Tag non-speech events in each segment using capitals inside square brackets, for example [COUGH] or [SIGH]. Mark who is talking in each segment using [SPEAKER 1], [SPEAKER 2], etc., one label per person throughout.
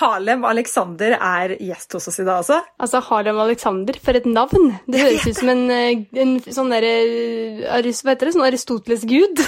[SPEAKER 1] Harlem Alexander er gjest hos oss i dag også.
[SPEAKER 2] Altså, Harlem Alexander, for et navn! Det
[SPEAKER 1] Jeg
[SPEAKER 2] høres ut som en, eh, en sånn derre Aris- Hva heter det? Sånn Aristoteles-gud?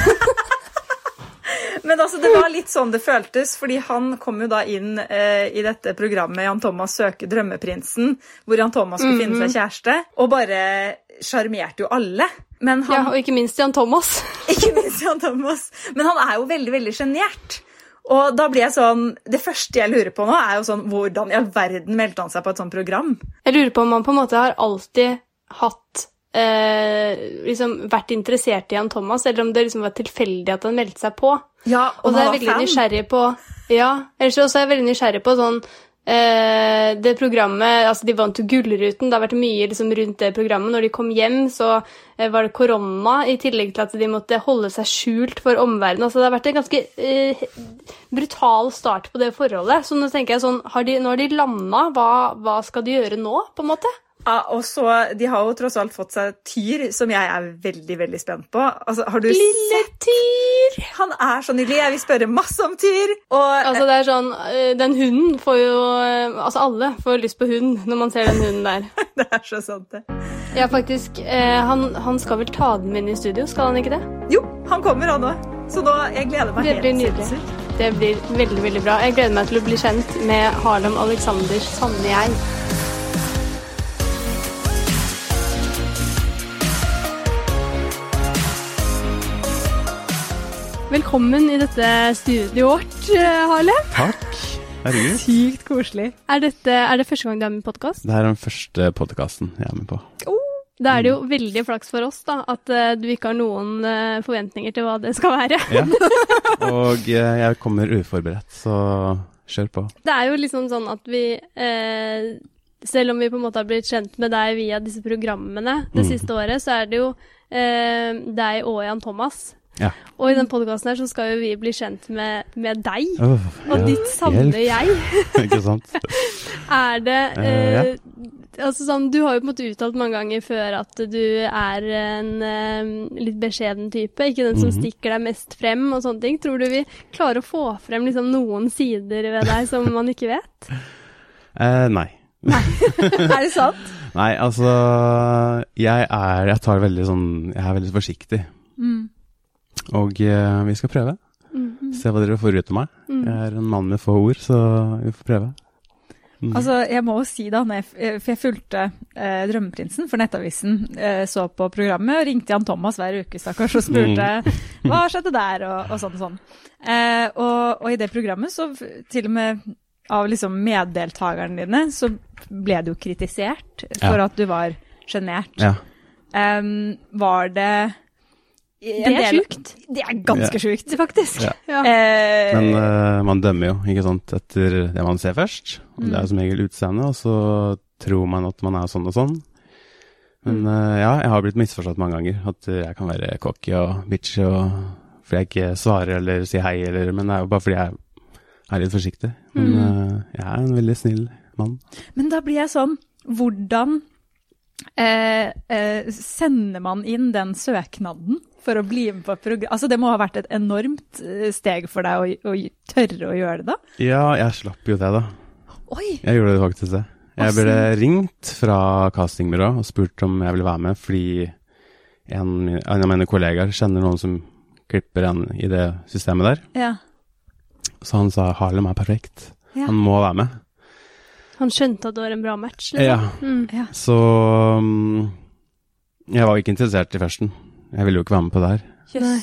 [SPEAKER 1] Men altså, det var litt sånn det føltes, fordi han kom jo da inn eh, i dette programmet Jan Thomas søker drømmeprinsen, hvor Jan Thomas skulle finne
[SPEAKER 2] Mhm.
[SPEAKER 1] seg kjæreste, og bare sjarmerte jo alle. Men han,
[SPEAKER 2] ja, og ikke minst Jan Thomas.
[SPEAKER 1] [LAUGHS] Ikke minst Jan Thomas. Men han er jo veldig veldig sjenert. Og da blir jeg sånn, Det første jeg lurer på nå, er jo sånn, hvordan i all verden meldte han seg på et sånt program?
[SPEAKER 2] Jeg lurer på om han på en måte har alltid hatt eh, liksom vært interessert i Jan Thomas, eller om det liksom var tilfeldig at han meldte seg på.
[SPEAKER 1] Ja,
[SPEAKER 2] Og så er jeg veldig nysgjerrig på Ja, ellers så er jeg veldig nysgjerrig på sånn eh, det programmet, altså De vant jo Gullruten. Det har vært mye liksom, rundt det programmet. Når de kom hjem, så eh, var det korona, i tillegg til at de måtte holde seg skjult for omverdenen. Altså, det har vært en ganske eh, brutal start på det forholdet. Så nå tenker jeg sånn, har de, nå har de landa. Hva, hva skal de gjøre nå, på en måte?
[SPEAKER 1] Ja, og så, De har jo tross alt fått seg Tyr, som jeg er veldig veldig spent på. Altså, har du
[SPEAKER 2] Lille Tyr!
[SPEAKER 1] sett? Han er så nydelig. Jeg vil spørre masse om Tyr. Og
[SPEAKER 2] Altså, det er sånn eh, Den hunden får jo eh, Altså, alle får lyst på hund når man ser den hunden der.
[SPEAKER 1] [LAUGHS] det er så sant, det.
[SPEAKER 2] Ja, faktisk. Eh, han, han skal vel ta den med inn i studio, skal han ikke det?
[SPEAKER 1] Jo, han kommer, han òg. Så nå, jeg gleder meg
[SPEAKER 2] Det blir
[SPEAKER 1] helt
[SPEAKER 2] nydelig.
[SPEAKER 1] sinnssykt.
[SPEAKER 2] Det blir veldig, veldig bra. Jeg gleder meg til å bli kjent med Harlem Alexanders sanne jeg. Velkommen i dette studioet vårt, eh, Harlem.
[SPEAKER 3] Takk. Herregud.
[SPEAKER 1] Sykt koselig.
[SPEAKER 2] Er, dette, er det første gang du er med i podkast?
[SPEAKER 3] Det er den første podkasten jeg er med på.
[SPEAKER 2] Da er det jo veldig flaks for oss da, at eh, du ikke har noen eh, forventninger til hva det skal være.
[SPEAKER 3] Ja. [LAUGHS] Og eh, jeg kommer uforberedt, så kjør på.
[SPEAKER 2] Det er jo liksom sånn at vi eh, Selv om vi på en måte har blitt kjent med deg via disse programmene det
[SPEAKER 3] Mm.
[SPEAKER 2] siste året, så er det jo eh, deg og Jan Thomas.
[SPEAKER 3] Ja.
[SPEAKER 2] Og i den podkasten her så skal jo vi bli kjent med, med deg.
[SPEAKER 3] Åh, [LAUGHS]
[SPEAKER 2] Og
[SPEAKER 3] ja.
[SPEAKER 2] ditt sanne
[SPEAKER 3] Hjelp.
[SPEAKER 2] jeg.
[SPEAKER 3] Ikke sant?
[SPEAKER 2] Er det eh,
[SPEAKER 3] Eh,
[SPEAKER 2] Altså sånn, Du har jo på en måte uttalt mange ganger før at du er en eh, litt beskjeden type. Ikke den som
[SPEAKER 3] Mhm.
[SPEAKER 2] stikker deg mest frem og sånne ting. Tror du vi klarer å få frem liksom, noen sider ved deg som man ikke vet?
[SPEAKER 3] [LAUGHS] Eh, nei.
[SPEAKER 1] Er det sant?
[SPEAKER 3] Nei, altså Jeg er Jeg tar veldig sånn Jeg er veldig forsiktig. Og eh, vi skal prøve. Se hva dere får ut av meg. Jeg er en mann med få ord, så vi får prøve. Mm.
[SPEAKER 1] Altså, jeg må jo si da, når jeg, f- for jeg fulgte eh, Drømmeprinsen for Nettavisen, eh, så på programmet og ringte Jan Thomas hver uke stakkars, og spurte
[SPEAKER 3] Mm.
[SPEAKER 1] [LAUGHS] hva skjedde der, og, og sånn og sånn. Eh, og, og i det programmet, så f- til og med av liksom meddeltakerne dine, så ble du jo kritisert for
[SPEAKER 3] Ja.
[SPEAKER 1] at du var sjenert.
[SPEAKER 3] Ja.
[SPEAKER 1] Em, var det
[SPEAKER 2] Det er sjukt.
[SPEAKER 1] Det er ganske sjukt, faktisk.
[SPEAKER 3] Ja.
[SPEAKER 2] Ja.
[SPEAKER 1] Eh,
[SPEAKER 3] Men eh, man dømmer jo, ikke sant, etter det man ser først. Og Det er jo som regel utseende, og så tror man at man er sånn og sånn. Men eh, ja, jeg har blitt misforstått mange ganger. At eh, jeg kan være cocky og bitchy og fordi jeg ikke svarer eller sier hei eller Men det er jo bare fordi jeg er litt forsiktig. Men eh, jeg er en veldig snill mann.
[SPEAKER 1] Men da blir jeg sånn, hvordan eh, eh, sender man inn den søknaden for å bli med på et program? Altså, det må ha vært et enormt eh, steg for deg å, å tørre å gjøre det, da?
[SPEAKER 3] Ja, jeg slapp jo det, da.
[SPEAKER 1] Oi!
[SPEAKER 3] Jeg gjorde det faktisk det. Jeg
[SPEAKER 1] Hvordan?
[SPEAKER 3] ble ringt fra castingbyrå og spurt om jeg ville være med, fordi en, en av mine kollegaer kjenner noen som klipper en i det systemet der.
[SPEAKER 1] Ja.
[SPEAKER 3] Så han sa Harlem er perfekt.
[SPEAKER 1] Ja.
[SPEAKER 3] Han må være med.
[SPEAKER 2] Han skjønte at det var en bra match. Liksom.
[SPEAKER 3] Ja.
[SPEAKER 2] Mm.
[SPEAKER 1] ja.
[SPEAKER 3] Så mm, jeg var jo ikke interessert i førsten. Jeg ville jo ikke være med på det her.
[SPEAKER 2] Nei.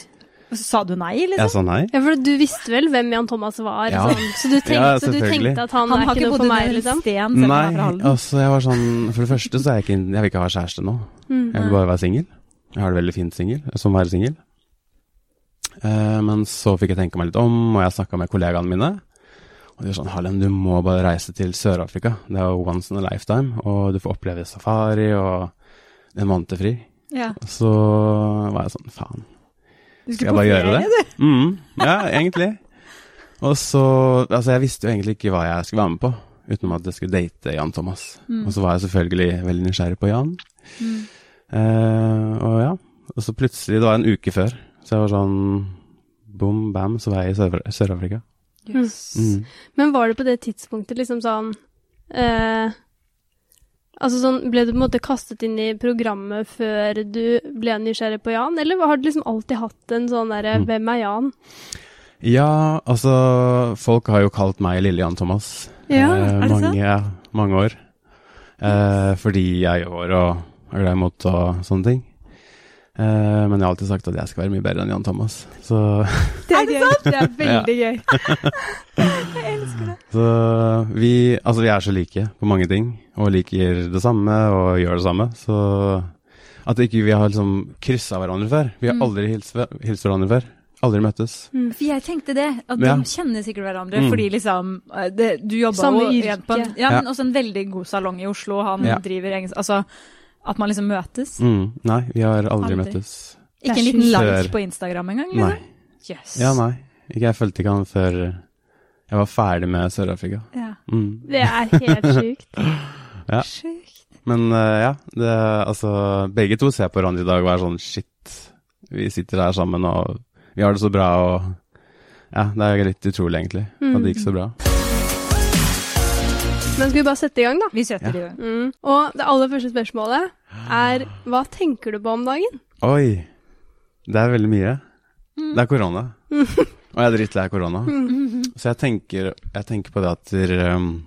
[SPEAKER 1] Og så Sa du nei, liksom?
[SPEAKER 3] Jeg sa nei.
[SPEAKER 2] ja, for du visste vel hvem Jan Thomas var,
[SPEAKER 3] Ja.
[SPEAKER 2] sånn. så du tenkte,
[SPEAKER 3] Ja,
[SPEAKER 2] så du
[SPEAKER 3] selvfølgelig.
[SPEAKER 2] tenkte at han,
[SPEAKER 1] Han
[SPEAKER 2] er
[SPEAKER 1] har
[SPEAKER 2] ikke
[SPEAKER 1] ikke
[SPEAKER 2] noe
[SPEAKER 1] bodd
[SPEAKER 2] for
[SPEAKER 1] under
[SPEAKER 2] meg,
[SPEAKER 1] en
[SPEAKER 2] liksom?
[SPEAKER 1] sten, selv om han er fra
[SPEAKER 3] Nei,
[SPEAKER 1] Halden.
[SPEAKER 3] altså jeg var sånn For det første så er jeg ikke Jeg vil ikke ha kjæreste nå.
[SPEAKER 2] Mm.
[SPEAKER 3] Jeg vil bare være singel. Jeg har det veldig fint singel, som å være singel. Eh, men så fikk jeg tenke meg litt om, og jeg snakka med kollegaene mine. Og de var sånn Harlem, du må bare reise til Sør-Afrika. Det er jo once in a lifetime. Og du får oppleve safari og en måned fri.
[SPEAKER 1] Ja.
[SPEAKER 3] Så var jeg sånn faen.
[SPEAKER 1] Du
[SPEAKER 3] Skal jeg bare gjøre det? Mm, ja, egentlig. Og så Altså, jeg visste jo egentlig ikke hva jeg skulle være med på, utenom at jeg skulle date Jan Thomas. Og så var jeg selvfølgelig veldig nysgjerrig på Jan. Eh, og ja. Og så plutselig, det var en uke før, så jeg var sånn Bom, bam, så var jeg i Sør- Sør-Afrika.
[SPEAKER 1] Yes.
[SPEAKER 3] Mm.
[SPEAKER 2] Men var det på det tidspunktet liksom sånn eh, Altså sånn, Ble du på en måte kastet inn i programmet før du ble nysgjerrig på Jan, eller har du liksom alltid hatt en sånn derre
[SPEAKER 3] Mm.
[SPEAKER 2] 'Hvem er Jan?'
[SPEAKER 3] Ja, altså Folk har jo kalt meg Lille Jan Thomas.
[SPEAKER 2] Ja,
[SPEAKER 3] eh,
[SPEAKER 1] er det sant?
[SPEAKER 3] mange, ja, mange år. Eh, fordi jeg gjør og er glad i mot og sånne ting. Eh, men jeg har alltid sagt at jeg skal være mye bedre enn Jan Thomas. Så, [LAUGHS]
[SPEAKER 1] Det er, gøy. Det er veldig gøy.
[SPEAKER 3] så vi Altså, vi er så like på mange ting, og liker det samme og gjør det samme. Så at ikke vi har liksom kryssa hverandre før. Vi har
[SPEAKER 1] Mm.
[SPEAKER 3] aldri hilst, hver- hilst hverandre før. Aldri møttes.
[SPEAKER 1] For jeg tenkte det, at
[SPEAKER 3] Ja.
[SPEAKER 1] de kjenner sikkert hverandre,
[SPEAKER 3] Mm.
[SPEAKER 1] fordi liksom eh, det, Du jobba
[SPEAKER 2] Samme
[SPEAKER 1] jo
[SPEAKER 2] yrke.
[SPEAKER 1] igjen på en, ja,
[SPEAKER 3] Ja.
[SPEAKER 1] men også en veldig god salong i Oslo, og han
[SPEAKER 3] Ja.
[SPEAKER 1] driver egen Altså at man liksom møtes.
[SPEAKER 3] Mm, nei, vi har aldri,
[SPEAKER 1] Aldri.
[SPEAKER 3] møttes.
[SPEAKER 1] Ikke en
[SPEAKER 2] Det er
[SPEAKER 1] liten
[SPEAKER 2] sjukt.
[SPEAKER 1] like
[SPEAKER 3] Før.
[SPEAKER 1] på Instagram engang?
[SPEAKER 3] Nei.
[SPEAKER 1] Liksom. Yes.
[SPEAKER 3] Ja, nei. Ikke jeg fulgte ikke han før jeg var ferdig med Sør-Afrika.
[SPEAKER 1] Ja.
[SPEAKER 3] Mm.
[SPEAKER 2] Det er
[SPEAKER 3] [LAUGHS]
[SPEAKER 2] helt sjukt.
[SPEAKER 3] Ja.
[SPEAKER 1] Sjukt.
[SPEAKER 3] Men eh, ja, det, altså Begge to ser på hverandre i dag og er sånn shit, vi sitter her sammen og vi har det så bra og Ja, det er litt utrolig egentlig at det gikk så bra.
[SPEAKER 2] Men skal vi bare sette i gang, da?
[SPEAKER 1] Vi søter
[SPEAKER 3] Ja.
[SPEAKER 1] det jo.
[SPEAKER 2] Mm. Og det aller første spørsmålet er hva tenker du på om dagen?
[SPEAKER 3] Oi! Det er veldig mye.
[SPEAKER 1] Mm.
[SPEAKER 3] Det er korona. Og jeg er drittlei av korona.
[SPEAKER 2] Mm.
[SPEAKER 1] Mhm.
[SPEAKER 3] Så jeg tenker, jeg tenker på det at ehm,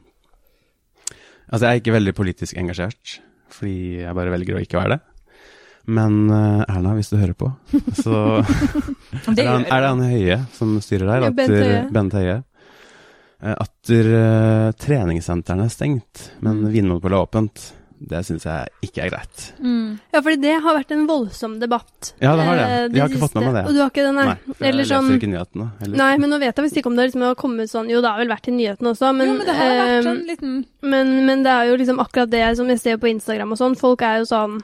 [SPEAKER 3] Altså, jeg er ikke veldig politisk engasjert, fordi jeg bare velger å ikke være det. Men eh, Erna, hvis du hører på, så
[SPEAKER 1] Det
[SPEAKER 3] er, det han,
[SPEAKER 1] gjør
[SPEAKER 3] er det han Høie som styrer der?
[SPEAKER 2] Ja, Bent
[SPEAKER 3] atter-
[SPEAKER 2] Høie.
[SPEAKER 3] Bent Høie. Eh, Atter eh, treningssentrene er stengt, men Vinmonopolet er åpent. Det syns jeg ikke er greit.
[SPEAKER 1] Mm.
[SPEAKER 2] Ja, fordi det har vært en voldsom debatt.
[SPEAKER 3] Ja, det har det.
[SPEAKER 2] eh,
[SPEAKER 3] Jeg har ikke fått med
[SPEAKER 2] siste.
[SPEAKER 3] meg det.
[SPEAKER 2] Og du har ikke det, nei?
[SPEAKER 3] for jeg
[SPEAKER 2] Eller
[SPEAKER 3] leser
[SPEAKER 2] sånn-
[SPEAKER 3] ikke nyhetene. heller.
[SPEAKER 2] Nei, men nå vet jeg visst ikke om det liksom har kommet sånn Jo, det har vel vært i nyhetene også, men,
[SPEAKER 1] jo, men det har
[SPEAKER 2] eh,
[SPEAKER 1] vært sånn- en liten
[SPEAKER 2] Men, men det er jo liksom akkurat det som jeg ser på Instagram og sånn. Folk er jo sånn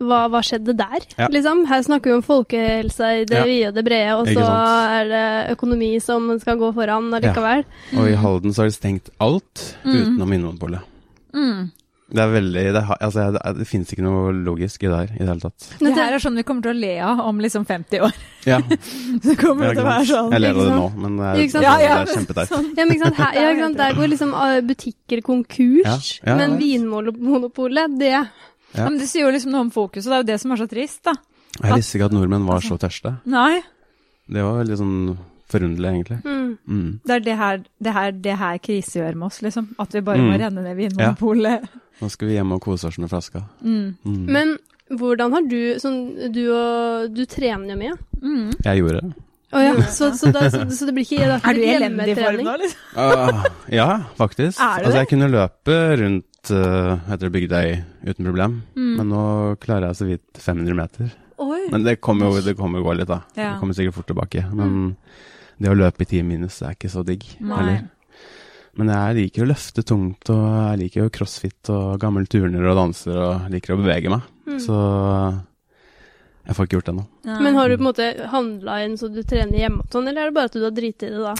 [SPEAKER 2] Hva, hva skjedde der?
[SPEAKER 3] Ja.
[SPEAKER 2] Liksom. Her snakker vi om folkehelsa i det
[SPEAKER 3] Ja.
[SPEAKER 2] vide og det brede, og
[SPEAKER 3] Ikke
[SPEAKER 2] så
[SPEAKER 3] sant.
[SPEAKER 2] er det økonomi som skal gå foran allikevel.
[SPEAKER 3] Og i Halden så har de stengt alt utenom Vinmonopolet.
[SPEAKER 1] mm.
[SPEAKER 3] Det er veldig Det, har- altså, det, er- det finnes ikke noe logisk i det her i det hele tatt.
[SPEAKER 1] Det her er sånn vi kommer til å le av om liksom 50 år. [LAUGHS]
[SPEAKER 3] [LAUGHS] Ja,
[SPEAKER 1] Så kommer det
[SPEAKER 3] jeg,
[SPEAKER 1] til å være sånn.
[SPEAKER 3] jeg ler av det
[SPEAKER 2] ikke
[SPEAKER 3] nå, men det er,
[SPEAKER 2] Ikke sant?
[SPEAKER 3] det
[SPEAKER 1] Ja,
[SPEAKER 3] er,
[SPEAKER 1] ja,
[SPEAKER 3] kjempeteit.
[SPEAKER 1] [LAUGHS] sånn.
[SPEAKER 2] Ja, men ikke sant? Her, ja, ikke sant? Der går liksom ah, butikker konkurs,
[SPEAKER 3] Ja, ja,
[SPEAKER 2] men
[SPEAKER 3] jeg vet.
[SPEAKER 2] Vinmonopolet, det
[SPEAKER 3] Ja.
[SPEAKER 1] Ja. Men det sier jo liksom noe om fokus, og det er jo det som er så trist, da.
[SPEAKER 3] Jeg visste ikke at nordmenn var så tørste.
[SPEAKER 1] Nei.
[SPEAKER 3] Det var veldig sånn forunderlig, egentlig.
[SPEAKER 2] mm.
[SPEAKER 3] Mm.
[SPEAKER 1] Det er det her, det her, det her krise gjør med oss, liksom. At vi bare
[SPEAKER 3] Mm.
[SPEAKER 1] må renne ned Vinmonopolet.
[SPEAKER 3] Nå skal vi hjem og kose oss med flaska.
[SPEAKER 1] Mm.
[SPEAKER 3] Mm.
[SPEAKER 2] Men hvordan har du sånn, Du, og, du trener jo mye.
[SPEAKER 1] Mm.
[SPEAKER 3] Jeg gjorde det.
[SPEAKER 2] Å ja, så, så, da, så, så det blir ikke det
[SPEAKER 1] Er du i
[SPEAKER 2] ikke
[SPEAKER 1] elendig form
[SPEAKER 2] hjemmetrening.
[SPEAKER 1] nå, liksom?
[SPEAKER 3] Ah, ja, faktisk.
[SPEAKER 1] Er det
[SPEAKER 3] altså,
[SPEAKER 1] det?
[SPEAKER 3] jeg kunne løpe rundt eh, etter Bygdøy uten problem,
[SPEAKER 1] Mm.
[SPEAKER 3] men nå klarer jeg så vidt 500 meter.
[SPEAKER 1] Oi.
[SPEAKER 3] Men det kommer jo det kommer jo gå litt, da.
[SPEAKER 1] Ja. Mm.
[SPEAKER 3] Det kommer sikkert fort tilbake. Men det å løpe i 10 minus er ikke så digg
[SPEAKER 1] Nei.
[SPEAKER 3] heller. Men jeg liker å løfte tungt, og jeg liker jo crossfit og gamle turner og danser, og liker å bevege meg.
[SPEAKER 1] Mm.
[SPEAKER 3] Så jeg får ikke gjort det nå.
[SPEAKER 1] Ja.
[SPEAKER 2] Mm. Men har du på en måte handla inn så du trener hjemme og sånn, eller er det bare at du har driti i det da?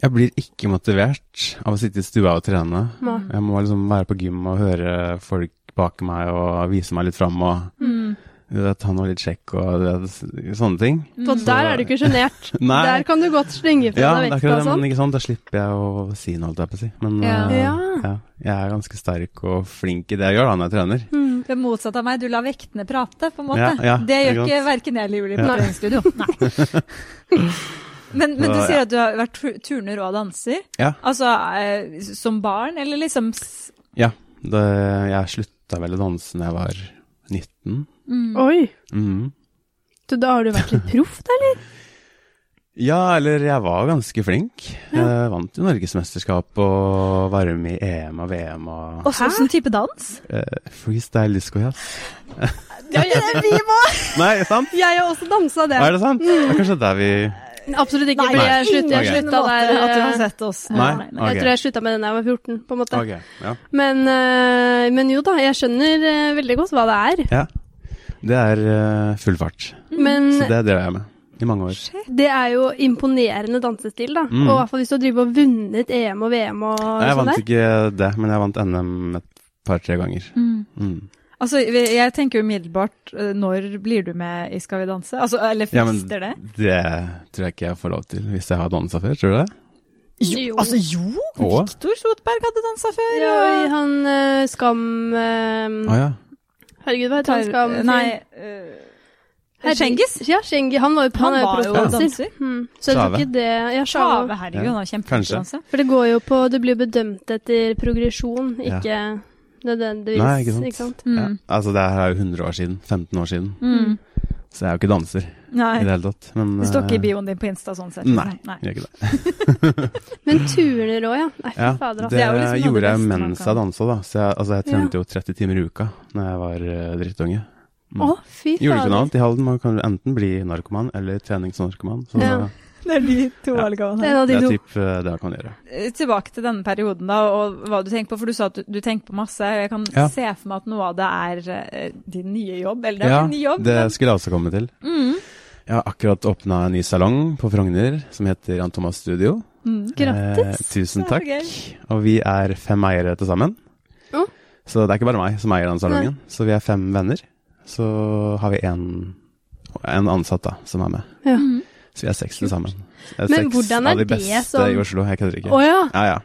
[SPEAKER 3] Jeg blir ikke motivert av å sitte i stua og trene.
[SPEAKER 2] Nei.
[SPEAKER 3] Jeg må liksom være på gym og høre folk bak meg og vise meg litt fram og
[SPEAKER 1] mm.
[SPEAKER 3] du vet, han var litt kjekk og du vet, sånne ting.
[SPEAKER 2] For
[SPEAKER 1] Mm.
[SPEAKER 2] der er du ikke sjenert.
[SPEAKER 3] [LAUGHS] Nei.
[SPEAKER 2] [LAUGHS] Der kan du godt slenge fra
[SPEAKER 3] Ja,
[SPEAKER 2] deg
[SPEAKER 3] det er
[SPEAKER 2] vekta
[SPEAKER 3] akkurat
[SPEAKER 2] og
[SPEAKER 3] det,
[SPEAKER 2] sånn.
[SPEAKER 3] men ikke sant, da slipper jeg å si noe, holdt jeg på å si. Men
[SPEAKER 1] Ja.
[SPEAKER 3] eh,
[SPEAKER 2] Ja.
[SPEAKER 3] ja, jeg er ganske sterk og flink i det jeg gjør da når jeg trener.
[SPEAKER 2] Mm.
[SPEAKER 1] Det er motsatt av meg, du lar vektene prate, på en måte.
[SPEAKER 3] Ja, ja,
[SPEAKER 1] det gjør
[SPEAKER 3] ikke
[SPEAKER 1] ikke
[SPEAKER 3] sant.
[SPEAKER 1] verken jeg eller Julie på
[SPEAKER 2] Ja.
[SPEAKER 3] [LAUGHS]
[SPEAKER 1] treningsstudio. Nei. Men, men du
[SPEAKER 3] Så, ja.
[SPEAKER 1] sier at du har vært tu- turner og danser.
[SPEAKER 3] Ja.
[SPEAKER 1] Altså eh, som barn, eller liksom s-
[SPEAKER 3] Ja, det, jeg slutta vel å danse da jeg var 19.
[SPEAKER 1] Mm.
[SPEAKER 2] Oi,
[SPEAKER 3] Mhm.
[SPEAKER 2] så da har du vært litt proff, da, eller?
[SPEAKER 3] Ja, eller jeg var ganske flink. Jeg vant jo Norgesmesterskap og var med i EM og VM og
[SPEAKER 1] Også sånn type dans?
[SPEAKER 3] eh, freestyle disco, ja.
[SPEAKER 1] Ja, ja, vi må!
[SPEAKER 3] Nei, sant?
[SPEAKER 2] Jeg har også dansa det.
[SPEAKER 3] Er det sant?
[SPEAKER 1] Mm.
[SPEAKER 3] Det er kanskje der vi
[SPEAKER 2] Absolutt ikke, fordi jeg, slutt, jeg
[SPEAKER 3] Ingen
[SPEAKER 2] slutta der
[SPEAKER 1] At du har
[SPEAKER 2] eh,
[SPEAKER 1] sett oss
[SPEAKER 3] Nei.
[SPEAKER 1] nei.
[SPEAKER 2] Jeg
[SPEAKER 3] Ok.
[SPEAKER 2] tror jeg slutta med den da jeg var 14, på en måte.
[SPEAKER 3] Ok, ja.
[SPEAKER 2] Men, eh, men jo da, jeg skjønner eh, veldig godt hva det er.
[SPEAKER 3] Ja. Det er eh, full fart.
[SPEAKER 1] Mm.
[SPEAKER 2] Men
[SPEAKER 3] Så det drev jeg med i mange år.
[SPEAKER 2] det er jo imponerende dansestil, da.
[SPEAKER 3] Mm.
[SPEAKER 2] Og i hvert fall hvis du har drevet og vunnet EM og VM og
[SPEAKER 3] Nei, jeg
[SPEAKER 2] sånn
[SPEAKER 3] vant
[SPEAKER 2] der.
[SPEAKER 3] ikke det, men jeg vant NM et par-tre ganger.
[SPEAKER 1] Mm.
[SPEAKER 3] Mm.
[SPEAKER 1] Altså, vi- jeg tenker jo umiddelbart eh, Når blir du med i Skal vi danse? Altså, eller
[SPEAKER 3] Ja, men
[SPEAKER 1] frister det?
[SPEAKER 3] det tror jeg ikke jeg får lov til hvis jeg har dansa før, tror du det?
[SPEAKER 1] Jo, altså jo!
[SPEAKER 3] Å.
[SPEAKER 1] Viktor Sotberg hadde dansa før.
[SPEAKER 4] Ja,
[SPEAKER 1] og-
[SPEAKER 4] han eh, Skam eh,
[SPEAKER 3] Å ja.
[SPEAKER 4] Herregud, hva heter han Skam?
[SPEAKER 1] eh, Nei, uh, Schengis.
[SPEAKER 4] Ja, Schengis. Han var jo, han
[SPEAKER 1] Han
[SPEAKER 4] er jo
[SPEAKER 1] var jo
[SPEAKER 4] proffdanser.
[SPEAKER 1] danser.
[SPEAKER 4] Mm. Så jeg tror
[SPEAKER 3] Sjave.
[SPEAKER 4] ikke det Ja,
[SPEAKER 1] Sjave,
[SPEAKER 4] Sjave.
[SPEAKER 1] herregud,
[SPEAKER 3] Ja,
[SPEAKER 1] han er
[SPEAKER 3] kanskje.
[SPEAKER 1] kjempeflink.
[SPEAKER 4] For det går jo på Du blir bedømt etter progresjon,
[SPEAKER 3] Ja.
[SPEAKER 4] ikke nødvendigvis.
[SPEAKER 3] Nei, ikke sant. ja.
[SPEAKER 1] Mm.
[SPEAKER 3] Altså, det her er jo 100 år siden. 15 år siden.
[SPEAKER 1] Mm.
[SPEAKER 3] Så jeg er jo ikke danser i
[SPEAKER 1] Nei.
[SPEAKER 3] det hele tatt. Men
[SPEAKER 1] Det står ikke i
[SPEAKER 3] eh,
[SPEAKER 1] bioen din på Insta sånn sett.
[SPEAKER 3] Nei.
[SPEAKER 1] liksom.
[SPEAKER 3] Gjør ikke det. [LAUGHS]
[SPEAKER 4] Men turner òg, ja. Nei, fy
[SPEAKER 3] Ja,
[SPEAKER 4] fader, altså.
[SPEAKER 3] det
[SPEAKER 1] Det er jo liksom noe av det
[SPEAKER 3] gjorde jeg
[SPEAKER 1] beste man
[SPEAKER 3] mens
[SPEAKER 1] kan.
[SPEAKER 3] jeg dansa, da. Så jeg, altså, jeg trente jo 30 timer i uka Når jeg var eh, drittunge. Mm.
[SPEAKER 4] Å, fy
[SPEAKER 3] Gjorde ikke noe
[SPEAKER 4] fader.
[SPEAKER 3] annet i Halden. Man kan enten bli narkoman eller treningsnarkoman. Så
[SPEAKER 4] Ja.
[SPEAKER 1] Det er de to
[SPEAKER 3] Ja.
[SPEAKER 4] Det er
[SPEAKER 1] valgene.
[SPEAKER 4] en av
[SPEAKER 3] det
[SPEAKER 4] de
[SPEAKER 3] er
[SPEAKER 4] to.
[SPEAKER 3] typ eh, det man kan gjøre.
[SPEAKER 1] Eh, Tilbake til denne perioden, da, og hva du tenker på. For du sa at du, du tenker på masse. og Jeg kan
[SPEAKER 3] Ja.
[SPEAKER 1] se for meg at noe av det er eh, din nye jobb. Eller det er
[SPEAKER 3] ja,
[SPEAKER 1] din nye jobb.
[SPEAKER 3] det
[SPEAKER 1] men-
[SPEAKER 3] skulle jeg også komme til.
[SPEAKER 1] Mm.
[SPEAKER 3] Jeg har akkurat åpna en ny salong på Frogner som heter Jan Thomas Studio.
[SPEAKER 1] Mm.
[SPEAKER 3] Grattis! Eh, tusen takk.
[SPEAKER 1] Det er
[SPEAKER 3] Og vi er fem eiere til sammen.
[SPEAKER 4] Ja.
[SPEAKER 3] Så det er ikke bare meg som eier den salongen. Så vi er fem venner. Så har vi en, en ansatt da, som er med.
[SPEAKER 4] Ja.
[SPEAKER 1] Mm.
[SPEAKER 3] Så vi er seks til sammen. Det
[SPEAKER 4] Men
[SPEAKER 3] seks
[SPEAKER 4] hvordan er
[SPEAKER 3] av de
[SPEAKER 4] det sånn-
[SPEAKER 3] beste
[SPEAKER 4] som-
[SPEAKER 3] i Oslo, jeg kødder ikke.
[SPEAKER 4] Å ja.
[SPEAKER 3] Ja, ja.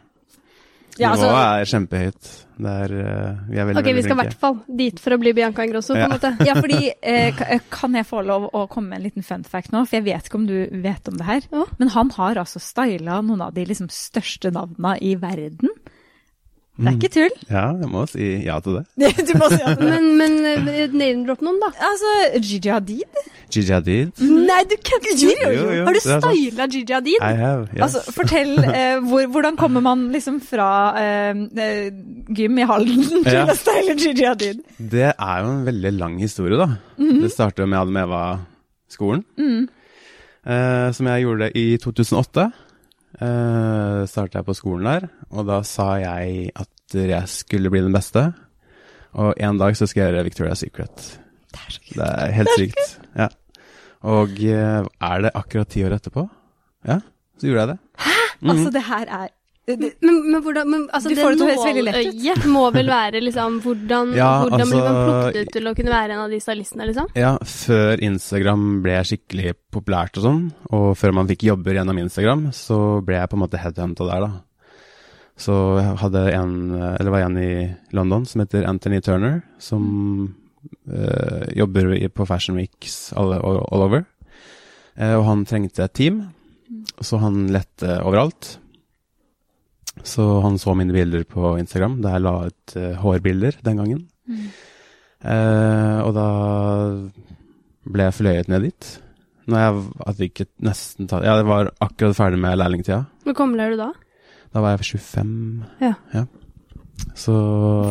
[SPEAKER 1] Ja, altså-
[SPEAKER 3] Nivået er kjempehøyt. Det er, eh, vi er veldig,
[SPEAKER 4] Ok, vi
[SPEAKER 3] veldig
[SPEAKER 4] skal i hvert
[SPEAKER 3] flinke.
[SPEAKER 4] fall dit for å bli Bianca Ingrosso, på
[SPEAKER 3] Ja.
[SPEAKER 4] en måte.
[SPEAKER 3] [LAUGHS]
[SPEAKER 1] Ja, fordi eh, ka- Kan jeg få lov å komme med en liten fun fact nå? For jeg vet ikke om du vet om det her.
[SPEAKER 4] Ja.
[SPEAKER 1] Men han har altså styla noen av de liksom største navna i verden. Det
[SPEAKER 3] Mm.
[SPEAKER 1] er ikke [LAUGHS] tull.
[SPEAKER 3] Ja, jeg må si ja til det.
[SPEAKER 1] du må si at
[SPEAKER 4] Men, men eh, name-drop noen, da.
[SPEAKER 1] Altså, Gigi Hadid?
[SPEAKER 3] Gigi Hadid.
[SPEAKER 1] Nei, du kødder!
[SPEAKER 3] jo, jo. Jo, jo,
[SPEAKER 1] Har du
[SPEAKER 3] det er sant.
[SPEAKER 1] styla Gigi Hadid?
[SPEAKER 3] I have, yes.
[SPEAKER 1] Altså, fortell, eh, hvor, hvordan kommer man liksom fra eh, eh, gym i Halden til
[SPEAKER 3] Ja.
[SPEAKER 1] å style Gigi Hadid?
[SPEAKER 3] Det er jo en veldig lang historie, da. Det startet jo med Adam Eva-skolen. Eh, som jeg gjorde i 2008. Eh, startet jeg på skolen der, og da sa jeg at jeg skulle bli den beste. Og en dag så skal jeg gjøre Victoria's Secret. Det er helt sykt. Ja. Og eh, er det akkurat ti år etterpå? Ja, så gjorde jeg det. Mm.
[SPEAKER 1] Altså, det her er det,
[SPEAKER 4] Men, men hvordan men, altså,
[SPEAKER 1] Du
[SPEAKER 4] Det
[SPEAKER 1] får det til å høres veldig lett
[SPEAKER 4] [LAUGHS]
[SPEAKER 1] ut.
[SPEAKER 4] nåløyet må vel være liksom Hvordan,
[SPEAKER 3] Ja,
[SPEAKER 4] hvordan blir man
[SPEAKER 3] altså-
[SPEAKER 4] plukket ut til å kunne være en av de stylistene, liksom?
[SPEAKER 3] Ja, før Instagram ble skikkelig populært og sånn, og før man fikk jobber gjennom Instagram, så ble jeg på en måte headhunta der, da. Så jeg hadde en, eller var en i London som heter Anthony Turner, som eh, jobber i- på Fashion Weeks alle, all, all over. Eh, og han trengte et team, så han lette overalt. Så han så mine bilder på Instagram, da jeg la ut eh, hårbilder den gangen. Eh, og da ble jeg fløyet ned dit. Når jeg, v- at jeg ikke nesten ta, Ja, jeg var akkurat ferdig med lærlingtida.
[SPEAKER 4] Hvor gammel er du da?
[SPEAKER 3] Da var jeg 25.
[SPEAKER 4] Ja.
[SPEAKER 3] Så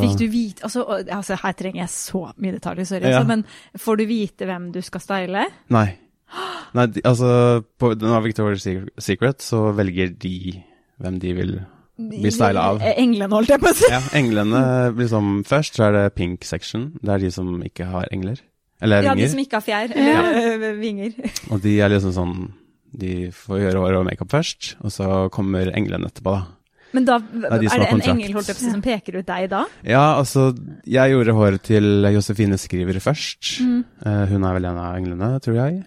[SPEAKER 1] Fikk du vite altså, og- altså, her trenger jeg så mye detaljer, sorry.
[SPEAKER 3] Ja.
[SPEAKER 1] Altså, men får du vite hvem du skal style?
[SPEAKER 3] Nei. Nei, de, altså På når Victoria's Secret- Secret så velger de hvem de vil bli styla av.
[SPEAKER 1] Eh, Englene, holdt jeg på å si.
[SPEAKER 3] Ja, [LAUGHS] englene liksom Først så er det pink section. Det er de som ikke har engler. Eller
[SPEAKER 1] Ja, de
[SPEAKER 3] vinger.
[SPEAKER 1] som ikke har fjær.
[SPEAKER 4] Ja.
[SPEAKER 1] Eller øh, vinger.
[SPEAKER 3] Og de er liksom sånn De får gjøre hår og makeup først, og så kommer englene etterpå, da.
[SPEAKER 1] Men da
[SPEAKER 3] er
[SPEAKER 1] er
[SPEAKER 3] de som
[SPEAKER 1] det
[SPEAKER 3] har
[SPEAKER 1] en
[SPEAKER 3] kontrakt.
[SPEAKER 1] engel holdt jeg på å si, som peker ut deg da?
[SPEAKER 3] Ja, altså, jeg gjorde håret til Josefine Skriver først. Eh, hun er vel en av englene, tror jeg.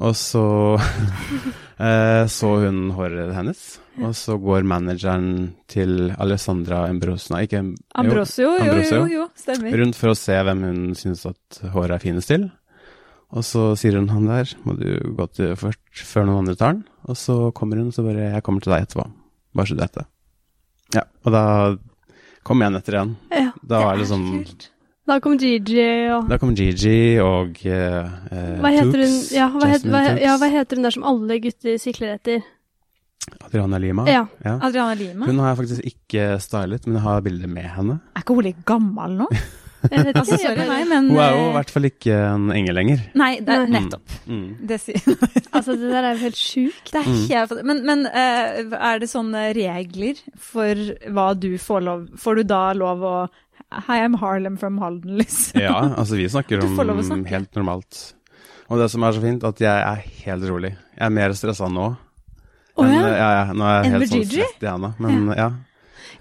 [SPEAKER 3] Og så [LAUGHS] eh, så hun håret hennes, og så går manageren til Alessandra Ambrosna, ikke Am- jo,
[SPEAKER 1] Ambrosio, jo, jo,
[SPEAKER 3] Ambrosio.
[SPEAKER 1] jo, jo stemmer.
[SPEAKER 3] rundt for å se hvem hun syns at håret er finest til. Og så sier hun han der, må du gå til først før noen andre tar den. Og så kommer hun, så bare jeg kommer til deg etterpå. Bare så du vet det. Ja, og da kom jeg etter igjen.
[SPEAKER 4] Ja.
[SPEAKER 3] Da var det liksom
[SPEAKER 1] Kult.
[SPEAKER 4] Da kom Gigi og
[SPEAKER 3] Da kom Gigi og eh, eh,
[SPEAKER 4] Hva heter hun
[SPEAKER 3] Tooks,
[SPEAKER 4] ja hva, heter,
[SPEAKER 3] Jasmine
[SPEAKER 4] hva,
[SPEAKER 3] Tooks,
[SPEAKER 4] ja, hva heter hun der som alle gutter sikler etter?
[SPEAKER 3] Adriana Lima.
[SPEAKER 4] Ja.
[SPEAKER 1] Adriana Lima.
[SPEAKER 3] Hun har jeg faktisk ikke stylet, men jeg har bilder med henne.
[SPEAKER 1] Er ikke hun litt gammel
[SPEAKER 3] [LAUGHS]
[SPEAKER 1] nå?
[SPEAKER 4] Jeg vet
[SPEAKER 1] Altså,
[SPEAKER 4] ikke, jeg
[SPEAKER 1] sorry meg,
[SPEAKER 4] bare-
[SPEAKER 1] men
[SPEAKER 3] Hun er jo i
[SPEAKER 1] øh,
[SPEAKER 3] hvert fall ikke en engel lenger.
[SPEAKER 1] Nei, det er
[SPEAKER 4] Nei.
[SPEAKER 1] nettopp.
[SPEAKER 3] Mm.
[SPEAKER 1] Det sier
[SPEAKER 4] Altså, det der er jo helt sjukt.
[SPEAKER 1] Det er helt Men, men øh, er det sånne regler for hva du får lov Får du da lov å Hi, I'm Harlem from Halden, liksom.
[SPEAKER 3] Ja, altså vi snakker
[SPEAKER 1] Du
[SPEAKER 3] om
[SPEAKER 1] får lov å snakke.
[SPEAKER 3] helt normalt. Og det som er så fint, at jeg er helt rolig. Jeg er mer stressa nå.
[SPEAKER 4] Å,
[SPEAKER 3] enn-
[SPEAKER 4] ja.
[SPEAKER 3] ja, ja, nå er jeg
[SPEAKER 1] Enn
[SPEAKER 3] helt
[SPEAKER 1] med
[SPEAKER 3] sånn
[SPEAKER 1] Gigi?
[SPEAKER 3] svett i handa. Men ja.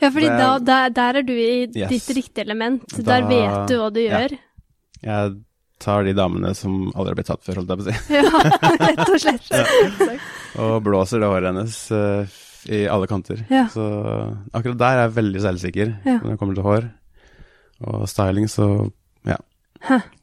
[SPEAKER 4] Ja, fordi
[SPEAKER 3] Det er-
[SPEAKER 4] da, der, der er du i
[SPEAKER 3] Yes.
[SPEAKER 4] ditt riktige element.
[SPEAKER 3] Da-
[SPEAKER 4] der vet du hva du
[SPEAKER 3] ja.
[SPEAKER 4] gjør. [LAUGHS]
[SPEAKER 3] jeg tar de damene som aldri har blitt [LAUGHS] tatt før, holdt jeg på å si.
[SPEAKER 4] Ja, rett og slett.
[SPEAKER 3] Og blåser det håret hennes eh, i alle kanter.
[SPEAKER 4] Ja.
[SPEAKER 3] Så akkurat der er jeg veldig selvsikker
[SPEAKER 4] Ja.
[SPEAKER 3] når det kommer til hår og styling, så ja.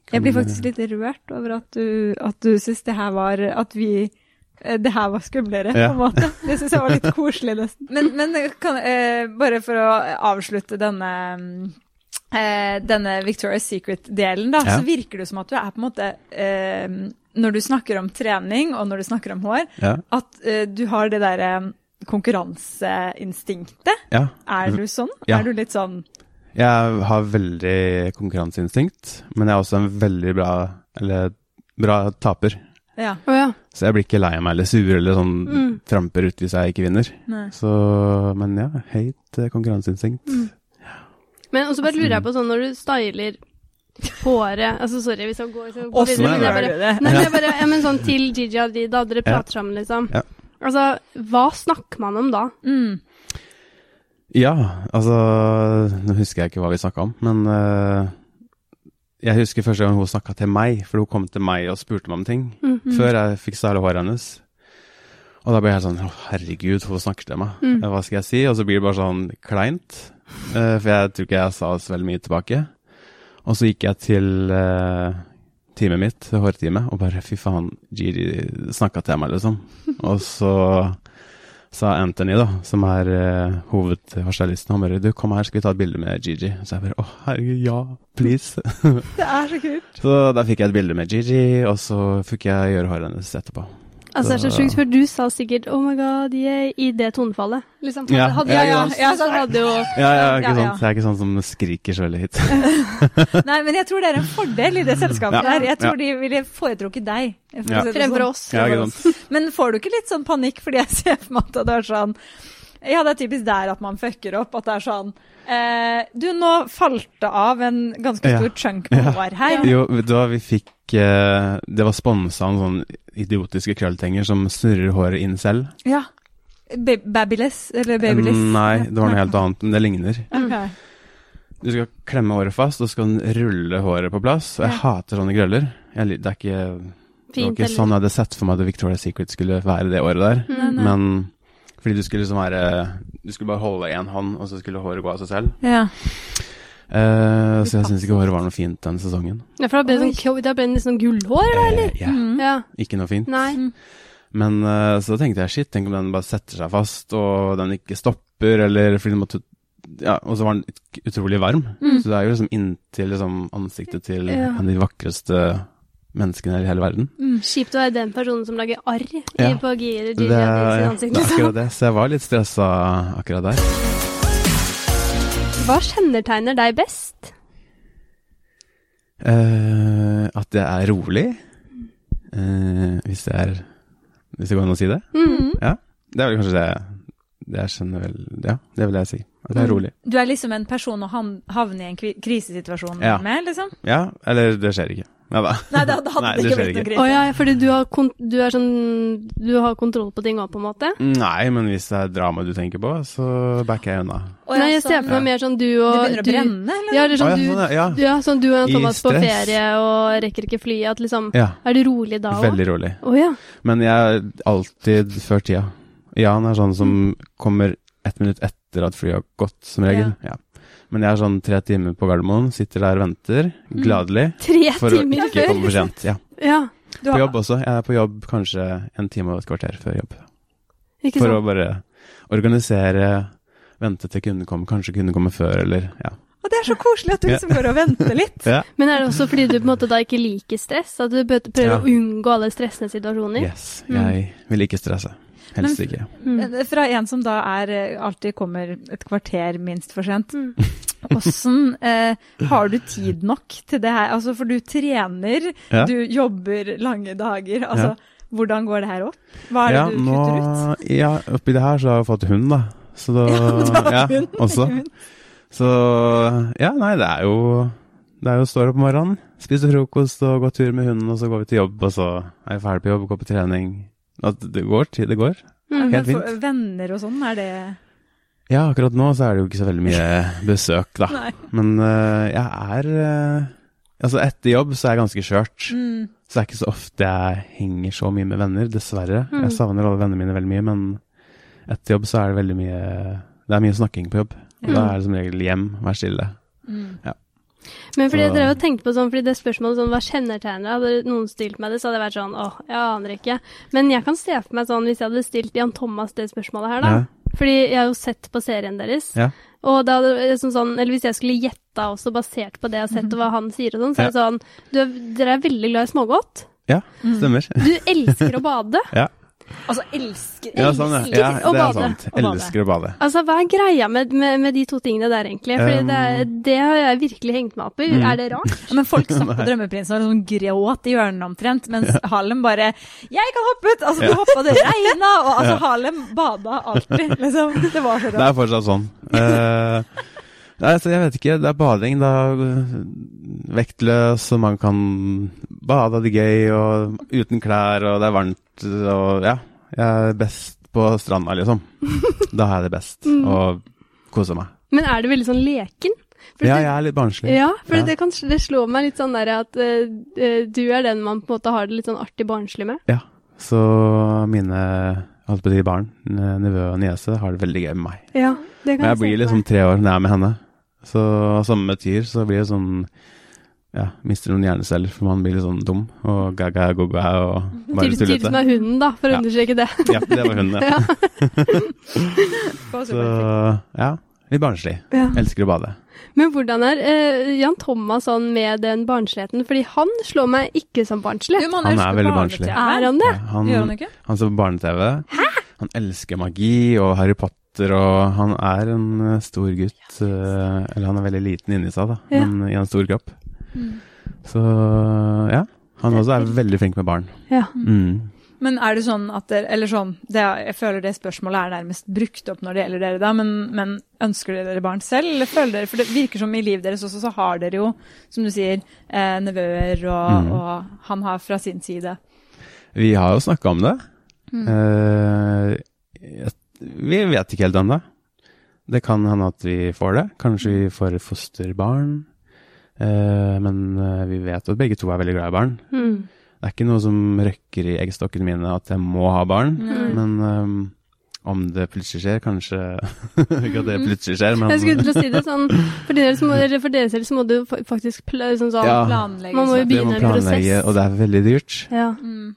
[SPEAKER 1] Jeg blir faktisk litt rørt over at du, at du syns det her var At vi eh, Det her var skumlere,
[SPEAKER 3] Ja.
[SPEAKER 1] på en
[SPEAKER 3] [LAUGHS]
[SPEAKER 1] måte. Det syns jeg var litt koselig, nesten. Men, men kan, eh, bare for å avslutte denne mm, eh, denne Victoria's Secret-delen, da,
[SPEAKER 3] Ja.
[SPEAKER 1] så virker det som at du er på en måte eh, Når du snakker om trening, og når du snakker om hår,
[SPEAKER 3] Ja.
[SPEAKER 1] at eh, du har det derre konkurranseinstinktet.
[SPEAKER 3] ja.
[SPEAKER 1] Er du sånn?
[SPEAKER 3] Ja.
[SPEAKER 1] Er du litt sånn
[SPEAKER 3] Jeg har veldig konkurranseinstinkt, men jeg er også en veldig bra, eller, bra taper.
[SPEAKER 1] Ja.
[SPEAKER 4] Å ja.
[SPEAKER 3] Så jeg blir ikke lei meg eller sur eller sånn tramper ut hvis jeg ikke vinner.
[SPEAKER 1] Nei.
[SPEAKER 3] Så, men ja, høyt eh, konkurranseinstinkt.
[SPEAKER 4] Men også bare lurer jeg
[SPEAKER 3] Altså,
[SPEAKER 4] på sånn når du styler håret Altså, sorry hvis jeg går, så går
[SPEAKER 1] Åssen
[SPEAKER 4] videre, men jeg
[SPEAKER 1] gjør
[SPEAKER 4] bare,
[SPEAKER 1] du det?
[SPEAKER 4] Nei, men jeg bare ja, men sånn til Gigi og de, da dere prater sammen, liksom.
[SPEAKER 3] Ja.
[SPEAKER 4] Altså, hva snakker man om da?
[SPEAKER 1] Mm.
[SPEAKER 3] Ja, altså Nå husker jeg ikke hva vi snakka om, men eh, jeg husker første gang hun snakka til meg, for hun kom til meg og spurte meg om ting før jeg fikk styla håret hennes. Og da ble jeg sånn Å, herregud, hun snakker til meg. Eh, Hva skal jeg si? Og så blir det bare sånn kleint, eh, for jeg tror ikke jeg sa så veldig mye tilbake. Og så gikk jeg til eh, teamet mitt, hårteamet, og bare fy faen, Gigi snakka til meg, liksom. Og så sa Anthony, da, som er uh, hovedvarselisten, han bare du, kom her, skal vi ta et bilde med Gigi? Så jeg bare å herregud, ja, please.
[SPEAKER 1] Det er så kult.
[SPEAKER 3] så da fikk jeg et bilde med Gigi, og så fikk jeg gjøre håret hennes etterpå.
[SPEAKER 4] Altså, det er så
[SPEAKER 3] Så-
[SPEAKER 4] sjukt, for du sa sikkert 'oh my god', yeah, i det tonefallet. Liksom.
[SPEAKER 3] Ja,
[SPEAKER 4] hadde
[SPEAKER 3] ja,
[SPEAKER 4] jeg
[SPEAKER 1] ja, ja,
[SPEAKER 4] så hadde jo
[SPEAKER 3] Ja, ja,
[SPEAKER 1] Ja,
[SPEAKER 3] ikke
[SPEAKER 1] ja.
[SPEAKER 3] sant. Jeg er ikke sånn som skriker så veldig hit. [LAUGHS]
[SPEAKER 1] Nei, men jeg tror det er en fordel i det selskapet
[SPEAKER 3] Ja.
[SPEAKER 1] der. Jeg tror de ville foretrukket deg. for å
[SPEAKER 3] Ja.
[SPEAKER 1] si det
[SPEAKER 4] Fremfor
[SPEAKER 1] sånn.
[SPEAKER 4] oss.
[SPEAKER 3] Ja, ikke sant.
[SPEAKER 1] Men får du ikke litt sånn panikk, fordi jeg [LAUGHS] ser for meg at det er sånn ja, det er typisk der at man fucker opp. At det er sånn eh, Du, nå falt det av en ganske
[SPEAKER 3] Ja.
[SPEAKER 1] stor chunk på
[SPEAKER 3] Ja.
[SPEAKER 1] hår her.
[SPEAKER 3] [LAUGHS] Jo, vet du hva, vi fikk eh, Det var sponsa en sånn idiotiske krølltenger som snurrer håret inn selv.
[SPEAKER 1] Ja. Ba Babyliss, eller babyliss. Mm.
[SPEAKER 3] Mm, Nei, det var noe helt annet, men det ligner.
[SPEAKER 1] Ok.
[SPEAKER 3] Du skal klemme håret fast, og så skal den rulle håret på plass. Og jeg hater sånne krøller. Jeg, li- det er ikke, det var
[SPEAKER 4] fint
[SPEAKER 3] ikke sånn jeg hadde sett for meg at Victoria's Secret skulle være det året der. Men fordi du skulle liksom være Du skulle bare holde én hånd, og så skulle håret gå av seg selv.
[SPEAKER 1] Ja.
[SPEAKER 3] Eh, så jeg syns ikke håret var noe fint den sesongen.
[SPEAKER 4] Ja, for da ble det sånn, kjø- da ble det nesten sånn gullhår, da, eller?
[SPEAKER 3] Eh, ja,
[SPEAKER 4] Ja.
[SPEAKER 3] ikke noe fint.
[SPEAKER 4] Nei.
[SPEAKER 3] Men eh, så tenkte jeg shit, tenk om den bare setter seg fast, og den ikke stopper, eller fordi den måtte ja, Og så var den ut- utrolig varm, så det er jo liksom inntil liksom, ansiktet til
[SPEAKER 4] Ja.
[SPEAKER 3] en av de vakreste menneskene i hele verden.
[SPEAKER 4] Kjipt å være den personen som lager arr i-
[SPEAKER 3] Ja.
[SPEAKER 4] på Giri
[SPEAKER 3] Det,
[SPEAKER 4] Gigi Hadis
[SPEAKER 3] det
[SPEAKER 4] ansikt.
[SPEAKER 3] er
[SPEAKER 4] Liksom. [LAUGHS]
[SPEAKER 3] akkurat det, så jeg var litt stressa akkurat der.
[SPEAKER 4] Hva kjennetegner deg best?
[SPEAKER 3] Eh, at jeg er rolig, eh, hvis det er Hvis det går an å si det?
[SPEAKER 4] Mm.
[SPEAKER 3] Ja. Det er vel kanskje det Det er generell Ja, det vil jeg si. At jeg er rolig.
[SPEAKER 1] Du er liksom en person å han- havne i en kvi- krisesituasjon
[SPEAKER 3] Ja.
[SPEAKER 1] med, liksom?
[SPEAKER 3] Ja, eller det skjer ikke. Nei da.
[SPEAKER 1] [LAUGHS] Nei, da hadde
[SPEAKER 3] Nei,
[SPEAKER 1] det
[SPEAKER 3] det
[SPEAKER 1] ikke
[SPEAKER 3] skjer
[SPEAKER 1] blitt noe
[SPEAKER 3] ikke.
[SPEAKER 4] Å
[SPEAKER 1] krise. [LAUGHS]
[SPEAKER 4] ja, fordi du har, kon du, er sånn, du har kontroll på ting òg, på en måte?
[SPEAKER 3] Nei, men hvis det er drama du tenker på, så backer jeg unna.
[SPEAKER 1] Å ja,
[SPEAKER 4] Nei, jeg ser
[SPEAKER 1] sånn-
[SPEAKER 4] for meg mer sånn du
[SPEAKER 1] Det
[SPEAKER 4] og
[SPEAKER 1] begynner å
[SPEAKER 4] du,
[SPEAKER 1] brenne, eller?
[SPEAKER 4] Ja, eller sånn
[SPEAKER 3] Å,
[SPEAKER 4] du,
[SPEAKER 3] ja, sånn, ja.
[SPEAKER 4] ja, sånn du og
[SPEAKER 3] I
[SPEAKER 4] Thomas på
[SPEAKER 3] stress.
[SPEAKER 4] ferie og rekker ikke flyet. At liksom
[SPEAKER 3] Ja.
[SPEAKER 4] Er du rolig da òg?
[SPEAKER 3] Veldig rolig.
[SPEAKER 4] Å ja.
[SPEAKER 3] Men jeg er alltid før tida. Jan er sånn som
[SPEAKER 4] Mm.
[SPEAKER 3] kommer ett minutt etter at flyet har gått, som regel. Ja. Men jeg er sånn tre timer på Gardermoen, sitter der og venter, gladelig.
[SPEAKER 4] Tre
[SPEAKER 3] For å
[SPEAKER 4] Mm. timer
[SPEAKER 3] ikke
[SPEAKER 4] før.
[SPEAKER 3] komme for sent. Ja.
[SPEAKER 4] [LAUGHS] Ja,
[SPEAKER 1] Du
[SPEAKER 3] På
[SPEAKER 1] har-
[SPEAKER 3] jobb også. Jeg er på jobb kanskje en time og et kvarter før jobb.
[SPEAKER 4] ikke
[SPEAKER 3] For å
[SPEAKER 4] sant.
[SPEAKER 3] bare organisere, vente til kunden kommer, kanskje kunden kommer før, eller ja.
[SPEAKER 1] Og det er så koselig at du
[SPEAKER 3] Ja.
[SPEAKER 1] liksom går og venter litt.
[SPEAKER 3] ja.
[SPEAKER 4] Men er det også fordi du på en måte da ikke liker stress? At du bø- prøver
[SPEAKER 3] Ja.
[SPEAKER 4] å unngå alle stressende situasjoner?
[SPEAKER 3] Yes. Jeg vil ikke stresse. Helst
[SPEAKER 1] Mm. Men-
[SPEAKER 3] ikke.
[SPEAKER 1] Eh, Fra en som da er eh, alltid kommer et kvarter minst for sent. [LAUGHS] Åssen eh, har du tid nok til det her? Altså, for du trener,
[SPEAKER 3] Ja.
[SPEAKER 1] du jobber lange dager. Altså, hvordan går det her opp? Hva er det du kutter
[SPEAKER 3] [LAUGHS]
[SPEAKER 1] ut?
[SPEAKER 3] Ja, oppi det her så har jeg fått hund, da. Så da
[SPEAKER 1] [LAUGHS] Ja, du har fått hund,
[SPEAKER 3] Også.
[SPEAKER 1] ikke minst.
[SPEAKER 3] Så ja, nei, det er jo Det er jo å stå opp om morgenen, spise frokost og gå tur med hunden, og så går vi til jobb, og så er vi ferdig på jobb og går på trening. At det går, tid det går.
[SPEAKER 1] Men
[SPEAKER 3] Helt
[SPEAKER 1] for-
[SPEAKER 3] fint.
[SPEAKER 1] Venner og sånn, er det
[SPEAKER 3] Ja, akkurat nå så er det jo ikke så veldig mye
[SPEAKER 1] [LAUGHS]
[SPEAKER 3] besøk, da.
[SPEAKER 1] Nei.
[SPEAKER 3] Men eh, jeg er eh, Altså, etter jobb så er jeg ganske skjørt.
[SPEAKER 1] Mm.
[SPEAKER 3] Så det er ikke
[SPEAKER 2] Mm.
[SPEAKER 3] så ofte jeg henger så mye med venner, dessverre. Jeg savner alle vennene mine veldig mye, men Etter jobb så er det veldig mye Det er mye snakking på jobb. Og Da er det som regel hjem, vær stille.
[SPEAKER 2] Men fordi jeg
[SPEAKER 3] Så-
[SPEAKER 2] drev og tenkte på sånn, fordi det spørsmålet sånn, hva kjennetegner det? Hadde noen stilt meg det, så hadde jeg vært sånn, åh, jeg aner ikke. Men jeg kan se for meg sånn, hvis jeg hadde stilt Jan Thomas det spørsmålet her da. Fordi jeg har jo sett på serien deres.
[SPEAKER 3] Ja.
[SPEAKER 2] Og da hadde det liksom sånn, eller hvis jeg skulle gjette også basert på det jeg har sett og hva han sier og sånn, så er det sånn, du, er- dere er veldig glad i smågodt.
[SPEAKER 3] Ja, stemmer.
[SPEAKER 2] Du Mm. elsker å
[SPEAKER 3] [LAUGHS]
[SPEAKER 2] bade.
[SPEAKER 1] Altså, elsker
[SPEAKER 3] Ja, sånn, ja. ja
[SPEAKER 2] å
[SPEAKER 3] det
[SPEAKER 2] bade.
[SPEAKER 3] er sant.
[SPEAKER 1] Å bade.
[SPEAKER 3] Elsker å bade.
[SPEAKER 2] Altså, hva er greia med, med, med de to tingene der egentlig? Fordi
[SPEAKER 3] Um. mm.
[SPEAKER 2] det, er- det har jeg virkelig hengt meg opp i. Er det rart?
[SPEAKER 1] Ja, Men folk
[SPEAKER 3] [LAUGHS]
[SPEAKER 1] satt på Drømmeprinsen og liksom gråt i hjørnene omtrent, mens Harlem bare 'Jeg kan hoppe ut!' Altså, du hoppa, det regna, og altså, Harlem bada alltid, liksom. Det var så
[SPEAKER 3] Det
[SPEAKER 1] rart.
[SPEAKER 3] er fortsatt sånn. Eh, nei, altså, jeg vet ikke. Det er bading. Da eh, vektløs, og man kan bade og det er gøy, og uten klær, og det er varmt, og ja. Jeg er best på stranda, liksom. Da er jeg det best, og koser meg.
[SPEAKER 2] Men er det veldig sånn leken? For
[SPEAKER 3] Ja,
[SPEAKER 2] det-
[SPEAKER 3] jeg er litt barnslig.
[SPEAKER 2] Ja, for
[SPEAKER 3] Ja.
[SPEAKER 2] Det, kan, det slår meg litt sånn der at eh, eh, du er den man på en måte har det litt sånn artig barnslig med.
[SPEAKER 3] Ja. Så mine jeg holdt på å si barn, n- nevø og niese, har det veldig gøy med meg.
[SPEAKER 2] Ja, det
[SPEAKER 3] Men jeg blir liksom tre år når jeg er med henne. Så og sammen med Tyr så blir det sånn Ja, mister noen hjerneceller, for man blir litt sånn dum og gaga goga og bare
[SPEAKER 2] Tyr som
[SPEAKER 3] tullete.
[SPEAKER 2] er hunden, da, for å
[SPEAKER 3] Ja.
[SPEAKER 2] understreke det.
[SPEAKER 3] Ja, [LAUGHS] det var hun, ja. Så ja, litt barnslig.
[SPEAKER 2] Ja.
[SPEAKER 3] Elsker å bade.
[SPEAKER 2] Men hvordan er eh, Jan Thomas sånn med den barnsligheten? Fordi han slår meg ikke som barnslig.
[SPEAKER 1] Jo, man
[SPEAKER 3] Han er
[SPEAKER 1] elsker
[SPEAKER 3] veldig
[SPEAKER 1] barne-TV.
[SPEAKER 3] barnslig.
[SPEAKER 2] Er han det?
[SPEAKER 3] Ja, han,
[SPEAKER 1] Gjør han ikke?
[SPEAKER 3] han ser på barne-TV. Han elsker magi og Harry Potter, og han er en eh, stor gutt. eh, Eller han er veldig liten inni seg, da,
[SPEAKER 2] Ja.
[SPEAKER 3] men i en stor kropp. Så ja. Han også Mm. er veldig flink med barn.
[SPEAKER 2] Ja.
[SPEAKER 3] Mm.
[SPEAKER 1] Men er det sånn at dere Eller sånn, det, jeg føler det spørsmålet er nærmest brukt opp når det gjelder dere, da, men, men ønsker dere dere barn selv, eller føler dere For det virker som i livet deres også, så har dere jo, som du sier, eh, nevøer, og,
[SPEAKER 3] Mm.
[SPEAKER 1] og han har fra sin side.
[SPEAKER 3] Vi har jo snakka om det.
[SPEAKER 2] Mm.
[SPEAKER 3] Eh, jeg- vi vet ikke helt ennå. Det kan hende at vi får det. Kanskje vi
[SPEAKER 2] Mm.
[SPEAKER 3] får et fosterbarn. Eh, men eh, vi vet at begge to er veldig glad i barn.
[SPEAKER 2] Mm.
[SPEAKER 3] Det er ikke noe som røkker i eggstokkene mine at jeg må ha barn.
[SPEAKER 2] Mm.
[SPEAKER 1] Mm.
[SPEAKER 3] Men ehm, om det plutselig skjer, kanskje [LAUGHS] Ikke at det plutselig skjer,
[SPEAKER 2] Mm.
[SPEAKER 3] men
[SPEAKER 2] Jeg skulle til å si det sånn, for dere, som må, eller for dere selv så må du fa- faktisk pla- sånn sånn
[SPEAKER 3] Ja.
[SPEAKER 1] Planlegges
[SPEAKER 2] Man må jo
[SPEAKER 1] det.
[SPEAKER 2] by-
[SPEAKER 3] det må
[SPEAKER 2] begynne en
[SPEAKER 3] planlegge,
[SPEAKER 2] prosess.
[SPEAKER 3] og det er veldig dyrt.
[SPEAKER 2] ja.
[SPEAKER 1] Mm.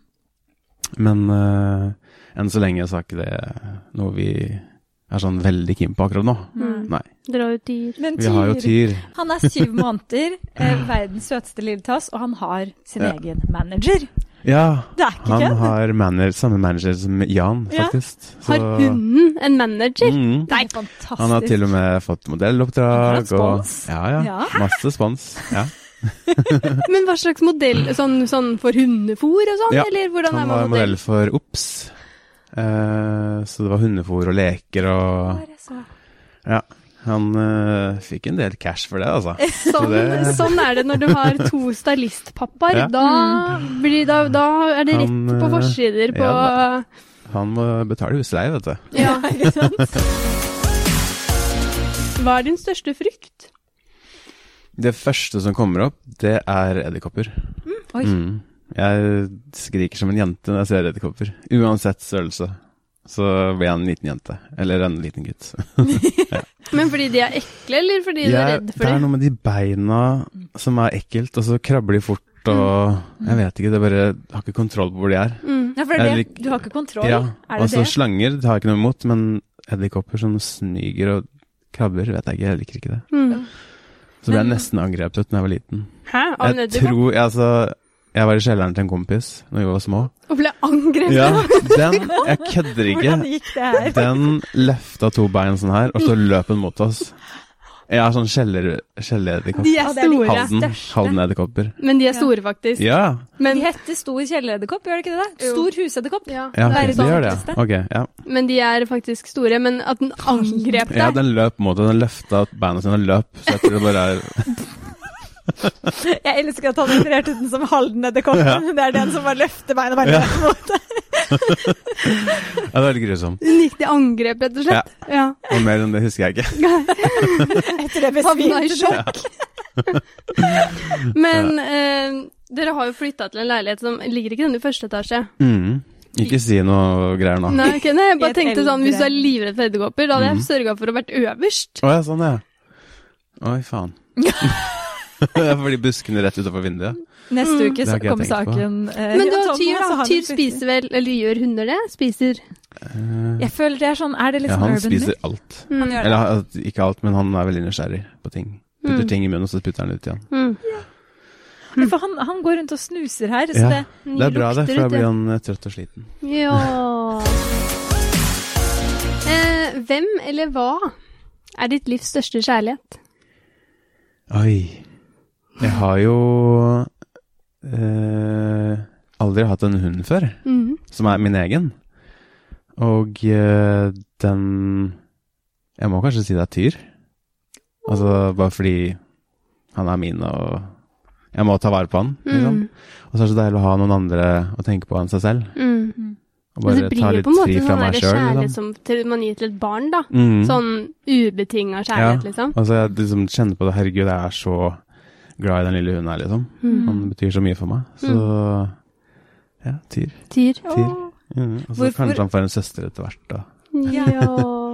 [SPEAKER 3] Men eh, enn så lenge så er ikke det noe vi er sånn veldig keen på akkurat nå.
[SPEAKER 2] Mm.
[SPEAKER 3] Nei.
[SPEAKER 2] Dra ut dyr.
[SPEAKER 1] Men
[SPEAKER 3] Vi har jo
[SPEAKER 1] Tyr,
[SPEAKER 3] Tyr.
[SPEAKER 1] han er syv måneder, eh, verdens søteste lille tass, og han har sin
[SPEAKER 3] Ja.
[SPEAKER 1] egen manager.
[SPEAKER 3] Ja,
[SPEAKER 1] Det er ikke
[SPEAKER 3] han
[SPEAKER 1] kødd.
[SPEAKER 3] har manager, samme manager som Jan,
[SPEAKER 1] Ja.
[SPEAKER 3] faktisk. Så-
[SPEAKER 2] Har hunden en manager?
[SPEAKER 3] Mm.
[SPEAKER 1] Det er fantastisk.
[SPEAKER 3] Han har til og med fått
[SPEAKER 1] Han har
[SPEAKER 3] modelloppdrag
[SPEAKER 1] hatt
[SPEAKER 3] og
[SPEAKER 1] spons.
[SPEAKER 3] ja, ja,
[SPEAKER 1] Ja.
[SPEAKER 3] Masse
[SPEAKER 1] [LAUGHS]
[SPEAKER 3] spons. Ja.
[SPEAKER 2] Men hva slags modell? Sånn, sånn for hundefôr og sånn,
[SPEAKER 3] Mm. Ja.
[SPEAKER 2] eller hvordan
[SPEAKER 3] Han
[SPEAKER 2] er man
[SPEAKER 3] var modell for OBS. Eh, så det var hundefôr og leker og
[SPEAKER 1] Bare så-
[SPEAKER 3] Ja. Han eh, fikk en del cash for det,
[SPEAKER 1] [LAUGHS]
[SPEAKER 3] altså.
[SPEAKER 2] Sånn,
[SPEAKER 3] det-
[SPEAKER 2] sånn er det når du har to stylistpappaer.
[SPEAKER 3] Ja.
[SPEAKER 2] Da, blir, da, da er det
[SPEAKER 3] Han,
[SPEAKER 2] rett på
[SPEAKER 3] eh,
[SPEAKER 2] forsider på
[SPEAKER 3] ja Han må betale husleie, vet du.
[SPEAKER 2] ja. Hva er din største frykt?
[SPEAKER 3] Det første som kommer opp, det er edderkopper.
[SPEAKER 1] Oi.
[SPEAKER 3] Mm. Jeg skriker som en jente når jeg ser edderkopper. Uansett størrelse. Så blir jeg en liten jente. Eller en liten gutt.
[SPEAKER 2] Men fordi de er ekle, eller fordi du er
[SPEAKER 3] Jeg-
[SPEAKER 2] redd
[SPEAKER 3] det
[SPEAKER 2] for
[SPEAKER 3] er
[SPEAKER 2] dem?
[SPEAKER 3] noe med de beina som er ekkelt, og så krabler de fort og Jeg vet ikke, det er bare jeg har ikke kontroll på hvor de er.
[SPEAKER 2] Mm.
[SPEAKER 1] Ja, for det er
[SPEAKER 3] Jeg
[SPEAKER 1] det. Du har ikke kontroll.
[SPEAKER 3] Ja,
[SPEAKER 1] Er det
[SPEAKER 3] altså
[SPEAKER 1] det?
[SPEAKER 3] slanger det har jeg ikke noe imot, men edderkopper som smyger og krabber, vet jeg ikke, jeg liker ikke det.
[SPEAKER 2] Mm.
[SPEAKER 3] Så ble jeg nesten angrepet da jeg var liten.
[SPEAKER 2] Hæ? Av en
[SPEAKER 3] Jeg
[SPEAKER 2] edderkopp?
[SPEAKER 3] tror, altså, jeg var i kjelleren til en kompis når vi var små.
[SPEAKER 2] Og ble angrepet?
[SPEAKER 3] Ja, den, jeg kødder ikke.
[SPEAKER 1] Hvordan gikk det
[SPEAKER 3] [LAUGHS]
[SPEAKER 1] her?
[SPEAKER 3] Den løfta to bein sånn her, og så løp den mot oss. Jeg har sånn kjeller- kjelleedderkopp.
[SPEAKER 2] De er
[SPEAKER 1] Ja, det er de
[SPEAKER 2] store.
[SPEAKER 3] Halden, halden edderkopper.
[SPEAKER 2] Men de er store, faktisk.
[SPEAKER 3] Ja,
[SPEAKER 1] De
[SPEAKER 2] Men,
[SPEAKER 1] heter stor kjelleredderkopp, gjør det ikke det?
[SPEAKER 2] Jo.
[SPEAKER 1] Stor
[SPEAKER 2] [LAUGHS]
[SPEAKER 1] husedderkopp.
[SPEAKER 2] ja.
[SPEAKER 3] ja
[SPEAKER 1] Det er
[SPEAKER 3] ok,
[SPEAKER 1] litt
[SPEAKER 3] det gjør det.
[SPEAKER 1] vanligste.
[SPEAKER 3] ja. Ok, ja.
[SPEAKER 2] men de er faktisk store. Men at den angrep
[SPEAKER 3] ja,
[SPEAKER 2] deg
[SPEAKER 3] den løp mot oss. Den løfta beina sine og løp, så jeg tror det bare
[SPEAKER 1] [LAUGHS]
[SPEAKER 3] er
[SPEAKER 1] Jeg elsker at han refererte til den som Halden-edderkoppen.
[SPEAKER 3] Ja.
[SPEAKER 1] Det er den som bare løfter beina bare
[SPEAKER 3] Ja.
[SPEAKER 1] rett mot [LAUGHS] deg.
[SPEAKER 3] Ja, det var veldig grusomt.
[SPEAKER 2] Hun gikk til angrep, rett og slett. Ja.
[SPEAKER 3] Og mer enn det husker jeg ikke.
[SPEAKER 1] Etter det
[SPEAKER 2] Havna i
[SPEAKER 1] besvimte du.
[SPEAKER 2] sjokk.
[SPEAKER 3] [LAUGHS]
[SPEAKER 2] Men eh, dere har jo flytta til en leilighet som ligger ikke i den i første etasje.
[SPEAKER 3] Mm. Ikke si noe greier nå.
[SPEAKER 2] Nei, ok, nei, jeg bare
[SPEAKER 1] I et
[SPEAKER 2] tenkte sånn, Hvis du er
[SPEAKER 1] eldre-
[SPEAKER 2] livredd for edderkopper, da hadde
[SPEAKER 3] Mhm.
[SPEAKER 2] jeg sørga for å vært øverst.
[SPEAKER 3] Å ja, sånn ja. Oi,
[SPEAKER 1] [LAUGHS]
[SPEAKER 3] faen. [LAUGHS] Det er fordi buskene rett utafor vinduet.
[SPEAKER 1] Neste uke
[SPEAKER 3] Det
[SPEAKER 1] så
[SPEAKER 3] har ikke jeg
[SPEAKER 1] kom
[SPEAKER 3] tenkt på.
[SPEAKER 1] saken eh,
[SPEAKER 2] Men
[SPEAKER 1] ja,
[SPEAKER 2] da,
[SPEAKER 1] Thomas,
[SPEAKER 2] tyr,
[SPEAKER 1] så
[SPEAKER 2] da.
[SPEAKER 1] har vi
[SPEAKER 2] Tyr
[SPEAKER 1] plutselig-
[SPEAKER 2] spiser vel Eller gjør hunder det? Spiser
[SPEAKER 3] Eh,
[SPEAKER 1] Jeg føler det er sånn Er det litt
[SPEAKER 3] ja,
[SPEAKER 1] sånn
[SPEAKER 3] han
[SPEAKER 1] urban
[SPEAKER 3] spiser
[SPEAKER 1] myth?
[SPEAKER 3] alt.
[SPEAKER 1] Han gjør det.
[SPEAKER 3] Eller at- ikke alt, men han er veldig nysgjerrig på ting. Putter
[SPEAKER 2] Mm.
[SPEAKER 3] ting i munnen, og så putter han det ut igjen.
[SPEAKER 2] mm.
[SPEAKER 1] For han, han går rundt og snuser her, så
[SPEAKER 3] Ja.
[SPEAKER 1] det
[SPEAKER 3] Det er bra, det, for
[SPEAKER 2] Lukter
[SPEAKER 3] da
[SPEAKER 2] ut,
[SPEAKER 3] blir
[SPEAKER 2] ja.
[SPEAKER 3] han eh, trøtt og sliten.
[SPEAKER 2] Ja eh, Hvem eller hva er ditt livs største kjærlighet?
[SPEAKER 3] Oi. Jeg har jo eh, aldri hatt en hund før,
[SPEAKER 2] Mm.
[SPEAKER 3] som er min egen. Og eh, den Jeg må kanskje si det er Tyr. Altså bare fordi han er min, og jeg må ta vare på han. Liksom.
[SPEAKER 2] Mm.
[SPEAKER 3] Og så er det så deilig å ha noen andre å tenke på enn seg selv.
[SPEAKER 2] Mm.
[SPEAKER 3] Og
[SPEAKER 2] Men
[SPEAKER 3] bare
[SPEAKER 2] det blir
[SPEAKER 3] ta
[SPEAKER 2] jo
[SPEAKER 3] litt
[SPEAKER 2] på en
[SPEAKER 3] fri
[SPEAKER 2] måte
[SPEAKER 3] fra
[SPEAKER 2] sånn
[SPEAKER 3] meg
[SPEAKER 2] der
[SPEAKER 3] sjøl.
[SPEAKER 2] kjærlighet
[SPEAKER 3] Liksom.
[SPEAKER 2] som til- man gir til et barn, da.
[SPEAKER 3] Mm.
[SPEAKER 2] Sånn ubetinga kjærlighet, liksom.
[SPEAKER 3] Altså jeg liksom kjenner på det, herregud, jeg er så glad i den lille hunden her, liksom.
[SPEAKER 2] Mm.
[SPEAKER 3] Han betyr så mye for meg. Så
[SPEAKER 1] Mm.
[SPEAKER 3] ja, Tyr.
[SPEAKER 2] Tyr.
[SPEAKER 3] Tyr. Mm. Og så
[SPEAKER 1] Hvorfor-
[SPEAKER 3] kanskje han får en søster etter hvert, da.
[SPEAKER 2] Ja.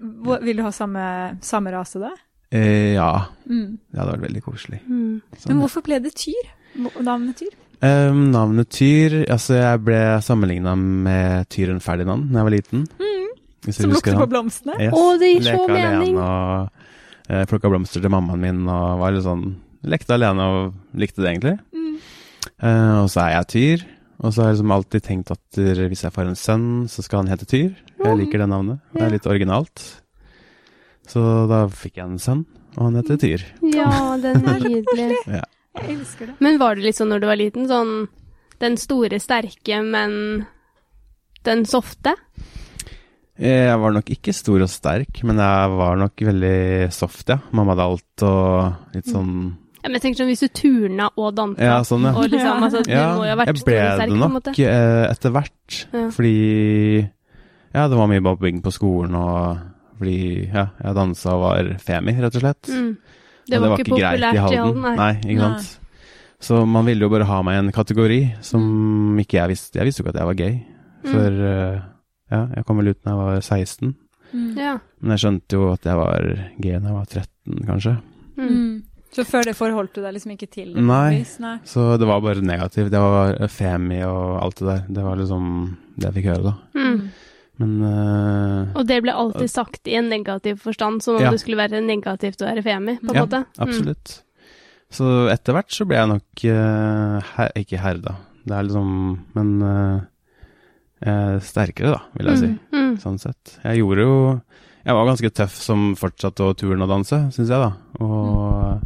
[SPEAKER 1] Hvor- Vil du ha samme, samme rase da?
[SPEAKER 3] Eh, ja,
[SPEAKER 1] Mm.
[SPEAKER 3] det hadde vært veldig koselig.
[SPEAKER 2] Mm.
[SPEAKER 1] Men
[SPEAKER 3] Sånn.
[SPEAKER 1] hvorfor ble det Tyr? Hvor- Navnet Tyr?
[SPEAKER 3] Eh, navnet Tyr Altså, jeg ble sammenligna med tyren Ferdinand da jeg var liten. Hvis dere
[SPEAKER 1] Mm. Som
[SPEAKER 3] husker
[SPEAKER 1] lukter på
[SPEAKER 3] han.
[SPEAKER 1] blomstene?
[SPEAKER 3] Yes.
[SPEAKER 2] Å, det gir så
[SPEAKER 3] Leka
[SPEAKER 2] mening.
[SPEAKER 3] alene og eh, plukka blomster til mammaen min og var litt sånn Lekte alene og likte det, egentlig.
[SPEAKER 2] Mm.
[SPEAKER 3] Eh, og så er jeg Tyr. Og så har jeg liksom alltid tenkt at eh, hvis jeg får en sønn, så skal han hete Tyr. Jeg liker det navnet. Det er litt originalt. Så da fikk jeg en sønn, og han
[SPEAKER 2] Mm.
[SPEAKER 3] heter Tyr.
[SPEAKER 2] ja, den er nydelig.
[SPEAKER 1] Jeg elsker det.
[SPEAKER 2] Men var det litt sånn når du var liten, sånn den store, sterke, men den softe?
[SPEAKER 3] Eh, Jeg var nok ikke stor og sterk, men jeg var nok veldig soft, ja. Mamma hadde alt og
[SPEAKER 2] Mm.
[SPEAKER 3] litt sånn
[SPEAKER 2] Ja, men jeg tenker sånn hvis du turna og dansa,
[SPEAKER 3] Ja, sånn, ja.
[SPEAKER 2] og liksom, altså, du
[SPEAKER 3] Ja,
[SPEAKER 2] må jo ha vært
[SPEAKER 3] jeg
[SPEAKER 2] stor
[SPEAKER 3] ble
[SPEAKER 2] og sterk,
[SPEAKER 3] det
[SPEAKER 2] på en
[SPEAKER 3] nok
[SPEAKER 2] måte.
[SPEAKER 3] eh, etter hvert.
[SPEAKER 2] Ja.
[SPEAKER 3] Fordi ja, det var mye mobbing på skolen, og fordi ja, jeg dansa og var femi, rett og slett.
[SPEAKER 2] Mm.
[SPEAKER 3] Og
[SPEAKER 2] Det var, ikke populært i Halden,
[SPEAKER 3] Nei.
[SPEAKER 2] nei.
[SPEAKER 3] ikke
[SPEAKER 1] Nei.
[SPEAKER 3] sant. Så man ville jo bare ha meg i en kategori som
[SPEAKER 2] Mm.
[SPEAKER 3] ikke jeg visste. Jeg visste jo ikke at jeg var gay. For eh, ja, jeg kom vel ut da jeg var 16.
[SPEAKER 1] Mm.
[SPEAKER 2] Ja.
[SPEAKER 3] Men jeg skjønte jo at jeg var gay da jeg var 13, kanskje.
[SPEAKER 2] Mm.
[SPEAKER 1] Så før det forholdt du deg liksom ikke til det?
[SPEAKER 3] Nei.
[SPEAKER 1] Vis, nei.
[SPEAKER 3] Så det var bare negativt. Det var femi og alt det der. Det var liksom det jeg fikk høre, da.
[SPEAKER 2] Mm.
[SPEAKER 3] Men eh,
[SPEAKER 2] Og det ble alltid sagt i en negativ forstand, som om
[SPEAKER 3] Ja.
[SPEAKER 2] det skulle være negativt å være femi, på en
[SPEAKER 3] Ja,
[SPEAKER 2] måte. Mm.
[SPEAKER 3] Absolutt. Så etter hvert så ble jeg nok eh, her, ikke herda. Det er liksom Men eh, eh, sterkere, da, vil jeg si.
[SPEAKER 2] Mm. Mm.
[SPEAKER 3] Sånn sett. Jeg gjorde jo Jeg var ganske tøff som fortsatte å turne og danse, syns jeg, da. Og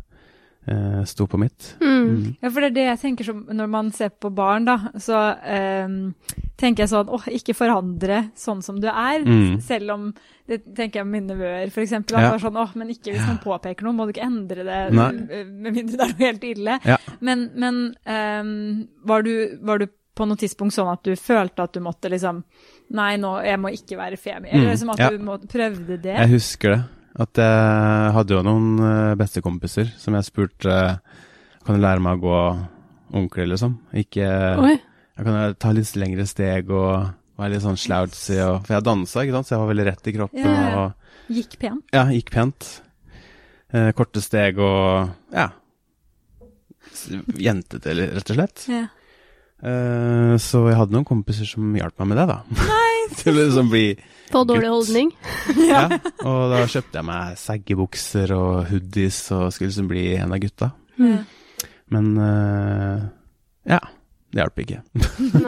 [SPEAKER 3] eh, sto på mitt.
[SPEAKER 2] Mm.
[SPEAKER 3] Mm.
[SPEAKER 1] Ja, for det er det jeg tenker som når man ser på barn, da. Så ehm, tenker jeg sånn åh, ikke forandre sånn som du er.
[SPEAKER 3] Mm.
[SPEAKER 1] s- Selv om Det tenker jeg om mine nevøer, for eksempel. At
[SPEAKER 3] Ja.
[SPEAKER 1] det var sånn åh, men ikke hvis man påpeker noe, må du ikke endre det.
[SPEAKER 3] Nei.
[SPEAKER 1] eh, Med mindre det er noe helt ille.
[SPEAKER 3] Ja.
[SPEAKER 1] Men, men ehm, var, du, var du på noe tidspunkt sånn at du følte at du måtte liksom Nei, nå, jeg må ikke være femi. Eller
[SPEAKER 3] Mm,
[SPEAKER 1] liksom at
[SPEAKER 3] ja.
[SPEAKER 1] du må, prøvde det.
[SPEAKER 3] Jeg husker det. At jeg hadde jo noen eh, bestekompiser som jeg spurte Kan du lære meg å gå ordentlig, liksom? Ikke
[SPEAKER 2] Oi.
[SPEAKER 3] Jeg kan ta litt lengre steg og være litt sånn slouchy og For jeg dansa, ikke sant, så jeg var veldig rett i kroppen
[SPEAKER 1] Ja, ja.
[SPEAKER 3] og
[SPEAKER 1] Gikk pent.
[SPEAKER 3] Ja, gikk pent. Eh, korte steg og ja. S- Jentete, eller- rett og slett.
[SPEAKER 1] Ja.
[SPEAKER 3] Eh, så jeg hadde noen kompiser som hjalp meg med det, da. [LAUGHS] Til å liksom bli
[SPEAKER 2] På dårlig
[SPEAKER 3] Gutt.
[SPEAKER 2] holdning.
[SPEAKER 3] ja. Og da kjøpte jeg meg saggebukser og hoodies og skulle liksom bli en av gutta.
[SPEAKER 2] Mm.
[SPEAKER 1] Ja.
[SPEAKER 3] Men eh, ja. Det hjalp ikke.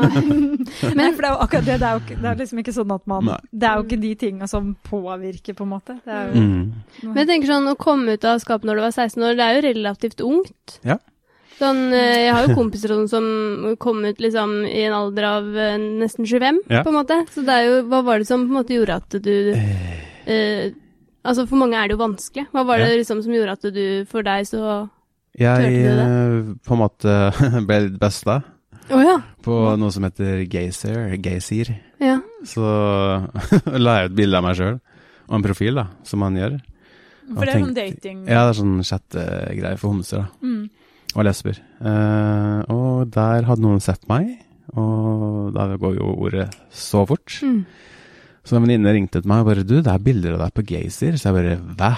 [SPEAKER 1] Nei, for det er jo akkurat det. Det er, jo ikke, det er liksom ikke sånn at man
[SPEAKER 3] Nei.
[SPEAKER 1] Det er jo ikke de tinga som påvirker, på en måte. Det er jo,
[SPEAKER 3] Mm.
[SPEAKER 2] Men jeg tenker sånn, å komme ut av skapet når du var 16 år, det er jo relativt ungt.
[SPEAKER 3] Ja.
[SPEAKER 2] Sånn, eh, jeg har jo kompiser og sånn som kom ut liksom i en alder av eh, nesten 25,
[SPEAKER 3] Ja.
[SPEAKER 2] på en måte. Så det er jo, hva var det som på en måte gjorde at du eh, Altså, for mange er det jo vanskelig. Hva var det liksom som gjorde at du, for deg, så Å
[SPEAKER 3] Jeg
[SPEAKER 2] Hørte
[SPEAKER 3] eh, på en måte [LAUGHS] ble besta
[SPEAKER 2] ja.
[SPEAKER 3] på noe som heter Gaysir. Gaysir.
[SPEAKER 2] Ja.
[SPEAKER 3] Så [LAUGHS] la jeg ut bilde av meg sjøl, og en profil, da, som man gjør.
[SPEAKER 1] For det er sånn
[SPEAKER 3] tenkte-
[SPEAKER 2] Mm.
[SPEAKER 1] dating
[SPEAKER 3] Ja, det er sånn chattegreie for homser, da.
[SPEAKER 1] Mm.
[SPEAKER 3] Og lesber. Eh, og der hadde noen sett meg, Og da går jo ordet så fort.
[SPEAKER 2] Mm.
[SPEAKER 3] Så en venninne ringte til meg og bare Du, det er bilder av deg på Gazer. Så jeg bare Hva?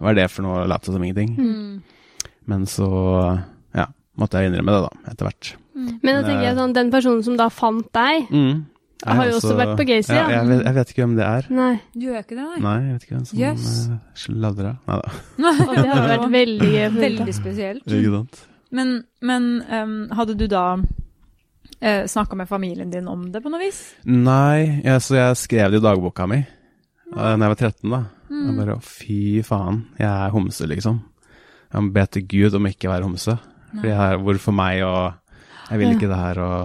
[SPEAKER 3] Hva er det for noe? Lot som ingenting.
[SPEAKER 2] Mm.
[SPEAKER 1] Mm.
[SPEAKER 3] Men så, ja, måtte jeg innrømme det, da, etter hvert.
[SPEAKER 1] Mm.
[SPEAKER 2] Men da tenker jeg sånn, den personen som da fant deg
[SPEAKER 3] Mm. Jeg
[SPEAKER 2] har jo også vært på Gacy,
[SPEAKER 3] ja.
[SPEAKER 2] ja.
[SPEAKER 3] Jeg vet, jeg vet ikke hvem det er.
[SPEAKER 2] Nei.
[SPEAKER 1] Du gjør ikke det,
[SPEAKER 3] Nei, jeg vet ikke hvem som eh, yes.
[SPEAKER 1] Yes. Mm.
[SPEAKER 3] sladra. Nei da.
[SPEAKER 1] [LAUGHS]
[SPEAKER 2] Og det hadde vært veldig gøy. å få vite.
[SPEAKER 1] Veldig spesielt.
[SPEAKER 3] Ikke sant.
[SPEAKER 1] Men, men ehm, hadde du da uh, snakka med familien din om det på noe vis?
[SPEAKER 3] Nei, ja, så jeg skrev det i dagboka mi eh, da jeg var 13, da. Jeg bare å, fy faen, jeg er homse, liksom. Jeg må be til Gud om ikke å være homse. Fordi jeg er hvorfor meg, og jeg vil ikke det her, og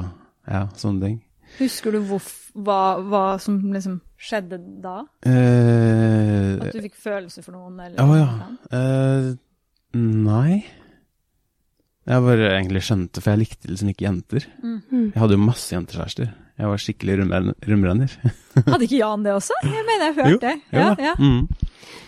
[SPEAKER 3] ja, sånne ting.
[SPEAKER 1] Husker du hvorf- hva, hva som liksom skjedde da?
[SPEAKER 3] Eh,
[SPEAKER 1] At du fikk følelser for noen? Eller
[SPEAKER 3] Å ja.
[SPEAKER 1] noe sånt?
[SPEAKER 3] Eh, nei. Jeg bare egentlig skjønte, for jeg likte liksom ikke jenter.
[SPEAKER 2] Mm.
[SPEAKER 3] Jeg hadde jo masse jentekjærester. Jeg var skikkelig rumren- rumrenner.
[SPEAKER 1] Hadde ikke Jan det også? Jeg mener jeg har hørt det.
[SPEAKER 3] Jo
[SPEAKER 1] Ja,
[SPEAKER 3] da.
[SPEAKER 1] ja.
[SPEAKER 3] Mm.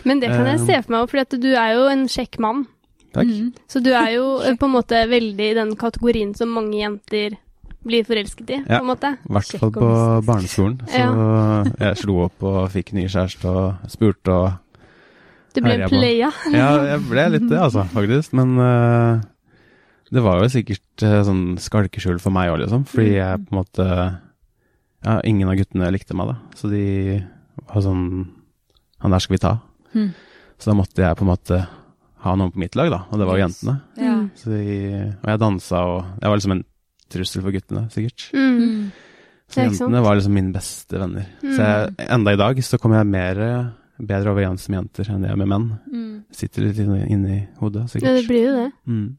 [SPEAKER 2] Men det
[SPEAKER 3] Eh,
[SPEAKER 2] kan jeg se for meg òg, for du er jo en kjekk mann.
[SPEAKER 3] Takk.
[SPEAKER 1] Mm.
[SPEAKER 2] Så du er jo eh, på en måte veldig i den kategorien som mange jenter blir forelsket i,
[SPEAKER 3] Ja.
[SPEAKER 2] på en måte.
[SPEAKER 3] I hvert fall på
[SPEAKER 1] Kjekk
[SPEAKER 3] barneskolen. Så [LAUGHS] jeg slo opp og fikk ny kjæreste og spurte og
[SPEAKER 2] Du ble
[SPEAKER 3] Her er
[SPEAKER 2] en
[SPEAKER 3] jeg på.
[SPEAKER 2] playa.
[SPEAKER 3] Ja, jeg ble litt det, altså, faktisk. Men eh, det var jo sikkert eh, sånn skalkeskjul for meg òg, liksom. Fordi jeg på en måte Ja, ingen av guttene likte meg, da. Så de var sånn Han der skal vi ta.
[SPEAKER 1] Mhm.
[SPEAKER 3] Så da måtte jeg på en måte ha noen på mitt lag, da. Og det var jo
[SPEAKER 1] Yes.
[SPEAKER 3] jentene.
[SPEAKER 1] Ja.
[SPEAKER 2] Mm.
[SPEAKER 3] Så de, og jeg dansa og Jeg var liksom en trussel for guttene, sikkert.
[SPEAKER 2] Mm.
[SPEAKER 3] Så
[SPEAKER 2] Ja, ikke sant? Mm.
[SPEAKER 3] jentene var liksom mine beste venner. Så jeg, enda i dag så kommer jeg mer, bedre overens med jenter enn jeg er med menn.
[SPEAKER 1] Mm.
[SPEAKER 3] Sitter litt inni, inni hodet,
[SPEAKER 2] Ja, det
[SPEAKER 3] sikkert.
[SPEAKER 2] blir jo det.
[SPEAKER 3] Mm.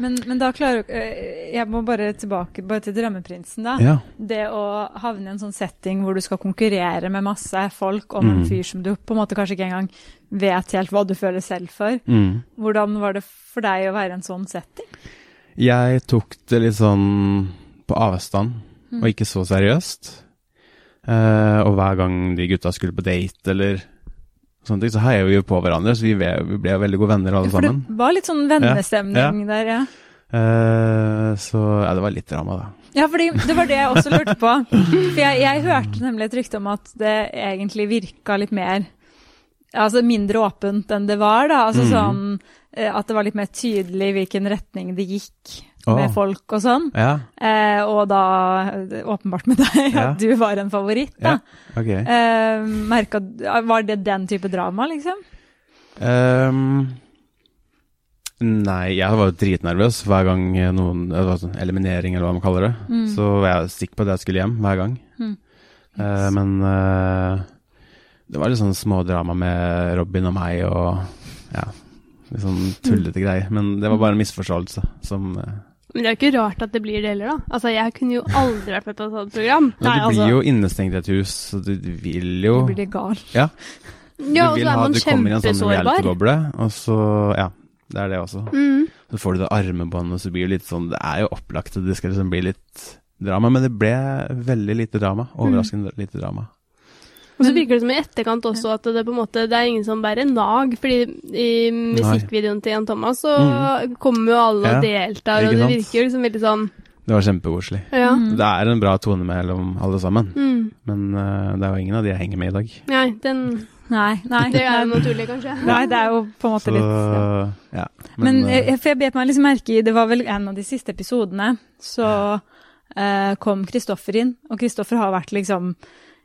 [SPEAKER 1] Men, men da klarer du eh, Jeg må bare tilbake bare til Drømmeprinsen, da.
[SPEAKER 3] Ja.
[SPEAKER 1] Det å havne i en sånn setting hvor du skal konkurrere med masse folk om en
[SPEAKER 3] Mm.
[SPEAKER 1] fyr som du på en måte kanskje ikke engang vet helt hva du føler selv for.
[SPEAKER 3] Mm.
[SPEAKER 1] Hvordan var det for deg å være i en sånn setting?
[SPEAKER 3] Jeg tok det litt sånn på avstand,
[SPEAKER 2] Mm.
[SPEAKER 3] og ikke så seriøst. Eh, og hver gang de gutta skulle på date eller sånne ting, så heier vi jo på hverandre, så vi ble, vi ble veldig gode venner alle
[SPEAKER 1] For det
[SPEAKER 3] sammen.
[SPEAKER 1] var litt sånn vennestemning der, ja.
[SPEAKER 3] Eh, så ja, det var litt drama, da.
[SPEAKER 1] Ja, fordi det var det jeg også lurte på. For jeg, jeg hørte nemlig et rykte om at det egentlig virka litt mer Altså mindre åpent enn det var, da. Altså
[SPEAKER 3] Mm.
[SPEAKER 1] sånn eh, at det var litt mer tydelig hvilken retning det gikk med
[SPEAKER 3] Åh.
[SPEAKER 1] folk og sånn.
[SPEAKER 3] Ja,
[SPEAKER 1] Eh, og da eh, åpenbart med deg
[SPEAKER 3] Ja.
[SPEAKER 1] at du var en favoritt,
[SPEAKER 3] ja.
[SPEAKER 1] da.
[SPEAKER 3] Ok.
[SPEAKER 1] Eh, merka Var det den type drama, liksom?
[SPEAKER 3] Ehm, nei, jeg var jo dritnervøs hver gang noen Det var sånn eliminering, eller hva man kaller det.
[SPEAKER 2] Mm.
[SPEAKER 3] Så var jeg sikker på at jeg skulle hjem hver gang. Eh, men eh, det var litt sånn smådrama med Robin og meg og ja, litt sånn
[SPEAKER 2] Mm.
[SPEAKER 3] tullete greier. Men det var bare en misforståelse som eh,
[SPEAKER 2] Men det er jo ikke rart at det blir det heller, da. Altså, jeg kunne jo aldri vært med på et sånt program. altså.
[SPEAKER 3] Men du blir jo innestengt i et hus, så du vil jo
[SPEAKER 1] Du blir litt gal.
[SPEAKER 3] Ja, du
[SPEAKER 2] Ja, og
[SPEAKER 3] vil
[SPEAKER 2] så er
[SPEAKER 3] ha
[SPEAKER 2] man
[SPEAKER 3] Du kommer i en sånn
[SPEAKER 2] kjempesårbar.
[SPEAKER 3] reality-boble, og så Ja, det er det også.
[SPEAKER 2] Mm.
[SPEAKER 3] Så får du det armebåndet, og så blir det litt sånn Det er jo opplagt at det skal liksom bli litt drama, men det ble veldig lite drama.
[SPEAKER 1] Mm.
[SPEAKER 3] Overraskende lite drama.
[SPEAKER 2] Og så virker det som i etterkant også at det på en måte Det er ingen som bærer nag, fordi i musikkvideoen til Jan Thomas så kommer jo alle og deltar, og det
[SPEAKER 3] Mm. Ikke sant?
[SPEAKER 2] virker jo liksom veldig sånn
[SPEAKER 3] Det var kjempekoselig.
[SPEAKER 2] Ja.
[SPEAKER 1] Mm.
[SPEAKER 3] Det er en bra tone mellom alle sammen,
[SPEAKER 2] Mm.
[SPEAKER 3] men eh, det er jo ingen av de jeg henger med i dag.
[SPEAKER 2] Nei, den
[SPEAKER 1] Nei, nei.
[SPEAKER 2] Det er jo naturlig, kanskje.
[SPEAKER 1] Nei, det er jo på en måte
[SPEAKER 3] Så
[SPEAKER 1] litt ja.
[SPEAKER 3] ja.
[SPEAKER 1] Men,
[SPEAKER 3] eh,
[SPEAKER 1] jeg, for jeg bet meg liksom merke i, det var vel en av de siste episodene, så eh, kom Kristoffer inn, og Kristoffer har vært liksom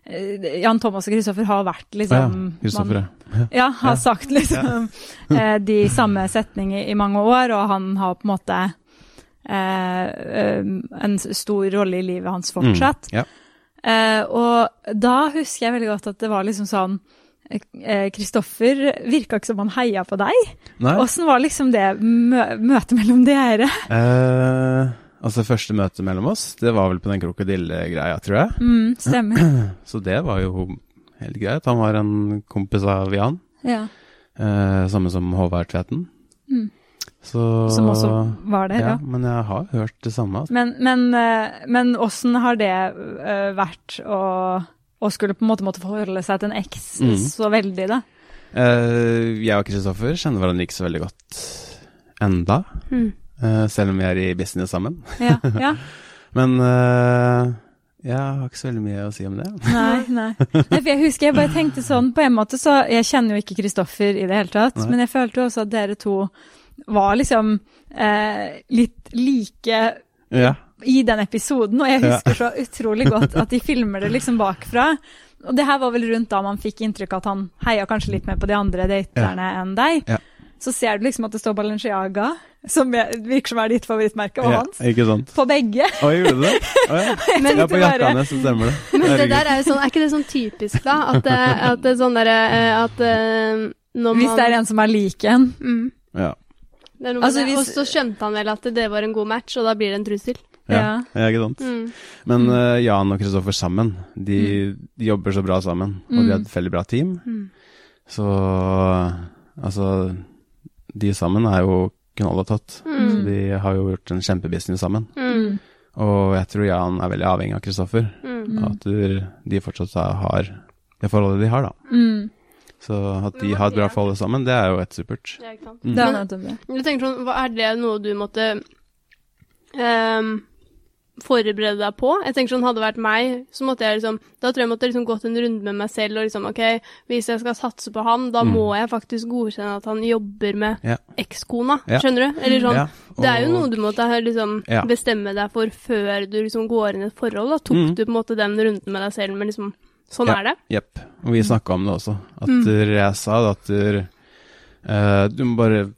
[SPEAKER 1] eh, Jan Thomas og Kristoffer har vært
[SPEAKER 3] ja,
[SPEAKER 1] liksom
[SPEAKER 3] Kristoffer,
[SPEAKER 1] man-
[SPEAKER 3] ja.
[SPEAKER 1] Ja, har sagt liksom eh, de samme setningene i mange år, og han har på en måte eh, eh, en s- stor rolle i livet hans
[SPEAKER 3] Mm,
[SPEAKER 1] fortsatt.
[SPEAKER 3] Ja.
[SPEAKER 1] Eh, og da husker jeg veldig godt at det var liksom sånn eh, Kristoffer virka ikke som han heia på deg.
[SPEAKER 3] Nei.
[SPEAKER 1] Åssen var liksom det mø møtet mellom dere?
[SPEAKER 3] eh, altså, første møte milloom oss, det var vel på den krokodillegreia, tror jeg.
[SPEAKER 1] Mm, stemmer.
[SPEAKER 3] Så det var jo helt greit. Han var en kompis av Jan.
[SPEAKER 1] Ja.
[SPEAKER 3] Eh, samme som Håvard Tveten.
[SPEAKER 1] Mm.
[SPEAKER 3] Så,
[SPEAKER 1] Som også var der,
[SPEAKER 3] ja,
[SPEAKER 1] ja.
[SPEAKER 3] Men jeg har hørt det samme. altså.
[SPEAKER 1] Men, men, eh, men åssen har det eh, vært å, å skulle på en måte måtte forholde seg til en eks
[SPEAKER 3] Mm.
[SPEAKER 1] så veldig, da?
[SPEAKER 3] Eh, jeg og Kristoffer kjenner hverandre ikke så veldig godt enda.
[SPEAKER 2] Mm.
[SPEAKER 3] [LAUGHS] eh, selv om vi er i business sammen.
[SPEAKER 1] Ja, ja.
[SPEAKER 3] Men eh, Jeg har ikke så veldig mye å si om det.
[SPEAKER 1] Nei, nei. nei for jeg husker jeg bare tenkte sånn på en måte, så jeg kjenner jo ikke Kristoffer i det hele tatt,
[SPEAKER 3] Nei.
[SPEAKER 1] men jeg følte jo også at dere to var liksom eh, litt like
[SPEAKER 3] Ja.
[SPEAKER 1] i den episoden, og jeg husker så utrolig godt at de filmer det liksom bakfra. Og det her var vel rundt da man fikk inntrykk av at han heia kanskje litt mer på de andre daterne enn deg.
[SPEAKER 3] Ja.
[SPEAKER 1] Så ser du liksom at det står Balenciaga, som jeg- virker som er ditt favorittmerke, og
[SPEAKER 3] ja.
[SPEAKER 1] hans,
[SPEAKER 3] Ikke sant.
[SPEAKER 1] på begge.
[SPEAKER 3] Å, gjorde du det? Å, ja.
[SPEAKER 1] Men
[SPEAKER 3] ja, på
[SPEAKER 1] bare-
[SPEAKER 3] jakka hennes så stemmer det.
[SPEAKER 2] Men det
[SPEAKER 3] Herregud.
[SPEAKER 2] der er jo sånn, er ikke det sånn typisk, da? At, eh, at det er sånn derre eh, At eh, når man
[SPEAKER 1] Hvis det er en som er lik en.
[SPEAKER 2] mm,
[SPEAKER 3] Ja.
[SPEAKER 2] det er noe med
[SPEAKER 1] Altså,
[SPEAKER 2] det.
[SPEAKER 1] hvis-
[SPEAKER 2] Og så skjønte han vel at det var en god match, og da blir det en trussel.
[SPEAKER 3] Ja.
[SPEAKER 1] Ja.
[SPEAKER 3] ja, ikke sant.
[SPEAKER 2] Mm.
[SPEAKER 3] Men eh, Jan og Kristoffer sammen, de, de jobber så bra sammen, og de har et veldig bra team.
[SPEAKER 2] Mm.
[SPEAKER 3] Så altså De sammen er jo knalletatt. Så de har jo gjort en kjempebusiness sammen.
[SPEAKER 2] Mm.
[SPEAKER 3] Og jeg tror Jan er veldig avhengig av Kristoffer.
[SPEAKER 2] Mm.
[SPEAKER 3] At du- de fortsatt da har det forholdet de har, da.
[SPEAKER 1] Mm.
[SPEAKER 3] Så at de
[SPEAKER 2] Men hva
[SPEAKER 3] har et
[SPEAKER 2] sier
[SPEAKER 3] bra
[SPEAKER 2] han?
[SPEAKER 3] forhold sammen, det er jo helt supert.
[SPEAKER 2] Ja, ikke sant.
[SPEAKER 1] Det er
[SPEAKER 2] Men-
[SPEAKER 1] nettopp det.
[SPEAKER 2] Jeg tenker sånn, hva Er det noe du måtte ehm, forberede deg på? Jeg tenker sånn, Hadde det vært meg, så måtte jeg liksom Da tror jeg jeg måtte liksom gått en runde med meg selv og liksom OK, hvis jeg skal satse på han, da må jeg faktisk godkjenne at han jobber med
[SPEAKER 3] Mm. Ja.
[SPEAKER 2] ekskona.
[SPEAKER 3] Ja.
[SPEAKER 2] Skjønner du? Eller sånn.
[SPEAKER 3] Ja,
[SPEAKER 2] Det er jo
[SPEAKER 3] og-
[SPEAKER 2] noe du måtte ha liksom
[SPEAKER 3] Ja.
[SPEAKER 2] bestemme deg for før du liksom går inn i et forhold. Da tok
[SPEAKER 3] Mm.
[SPEAKER 2] du på en måte den runden med deg selv, men liksom Sånn
[SPEAKER 3] Ja.
[SPEAKER 2] er det.
[SPEAKER 3] Jepp. Og
[SPEAKER 2] Mm.
[SPEAKER 3] vi snakka om det også. At eh, jeg sa da at eh, du må bare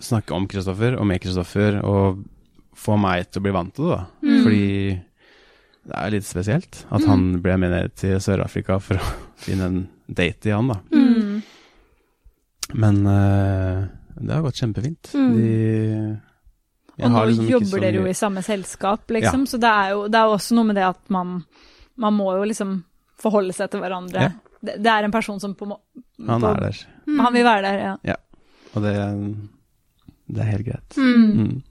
[SPEAKER 3] snakke om Kristoffer og med Kristoffer, og få meg til å bli vant til det, da. Fordi
[SPEAKER 1] Mm.
[SPEAKER 3] det er jo litt spesielt at han ble med ned til Sør-Afrika for å [LAUGHS] finne en date i han, da.
[SPEAKER 1] Mm.
[SPEAKER 3] Men eh, det har gått kjempefint. De jeg
[SPEAKER 1] Mm. Og nå
[SPEAKER 3] har liksom ikke så
[SPEAKER 1] jobber dere jo
[SPEAKER 3] mye-
[SPEAKER 1] i samme selskap, liksom, så det er jo det er jo også noe med det at man, man må jo liksom forholde seg til hverandre.
[SPEAKER 3] Ja.
[SPEAKER 1] Det, det er en person som på må...
[SPEAKER 3] Han
[SPEAKER 1] på-
[SPEAKER 3] er der,
[SPEAKER 2] Mm.
[SPEAKER 1] Han vil være der, ja.
[SPEAKER 3] og det, det er helt greit. Mm.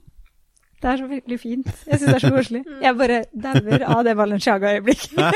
[SPEAKER 1] Det er så virkelig fint. Jeg syns det er så [LAUGHS] koselig. Jeg bare dauer av det
[SPEAKER 3] [LAUGHS]
[SPEAKER 1] Balenciaga-øyeblikket. ja,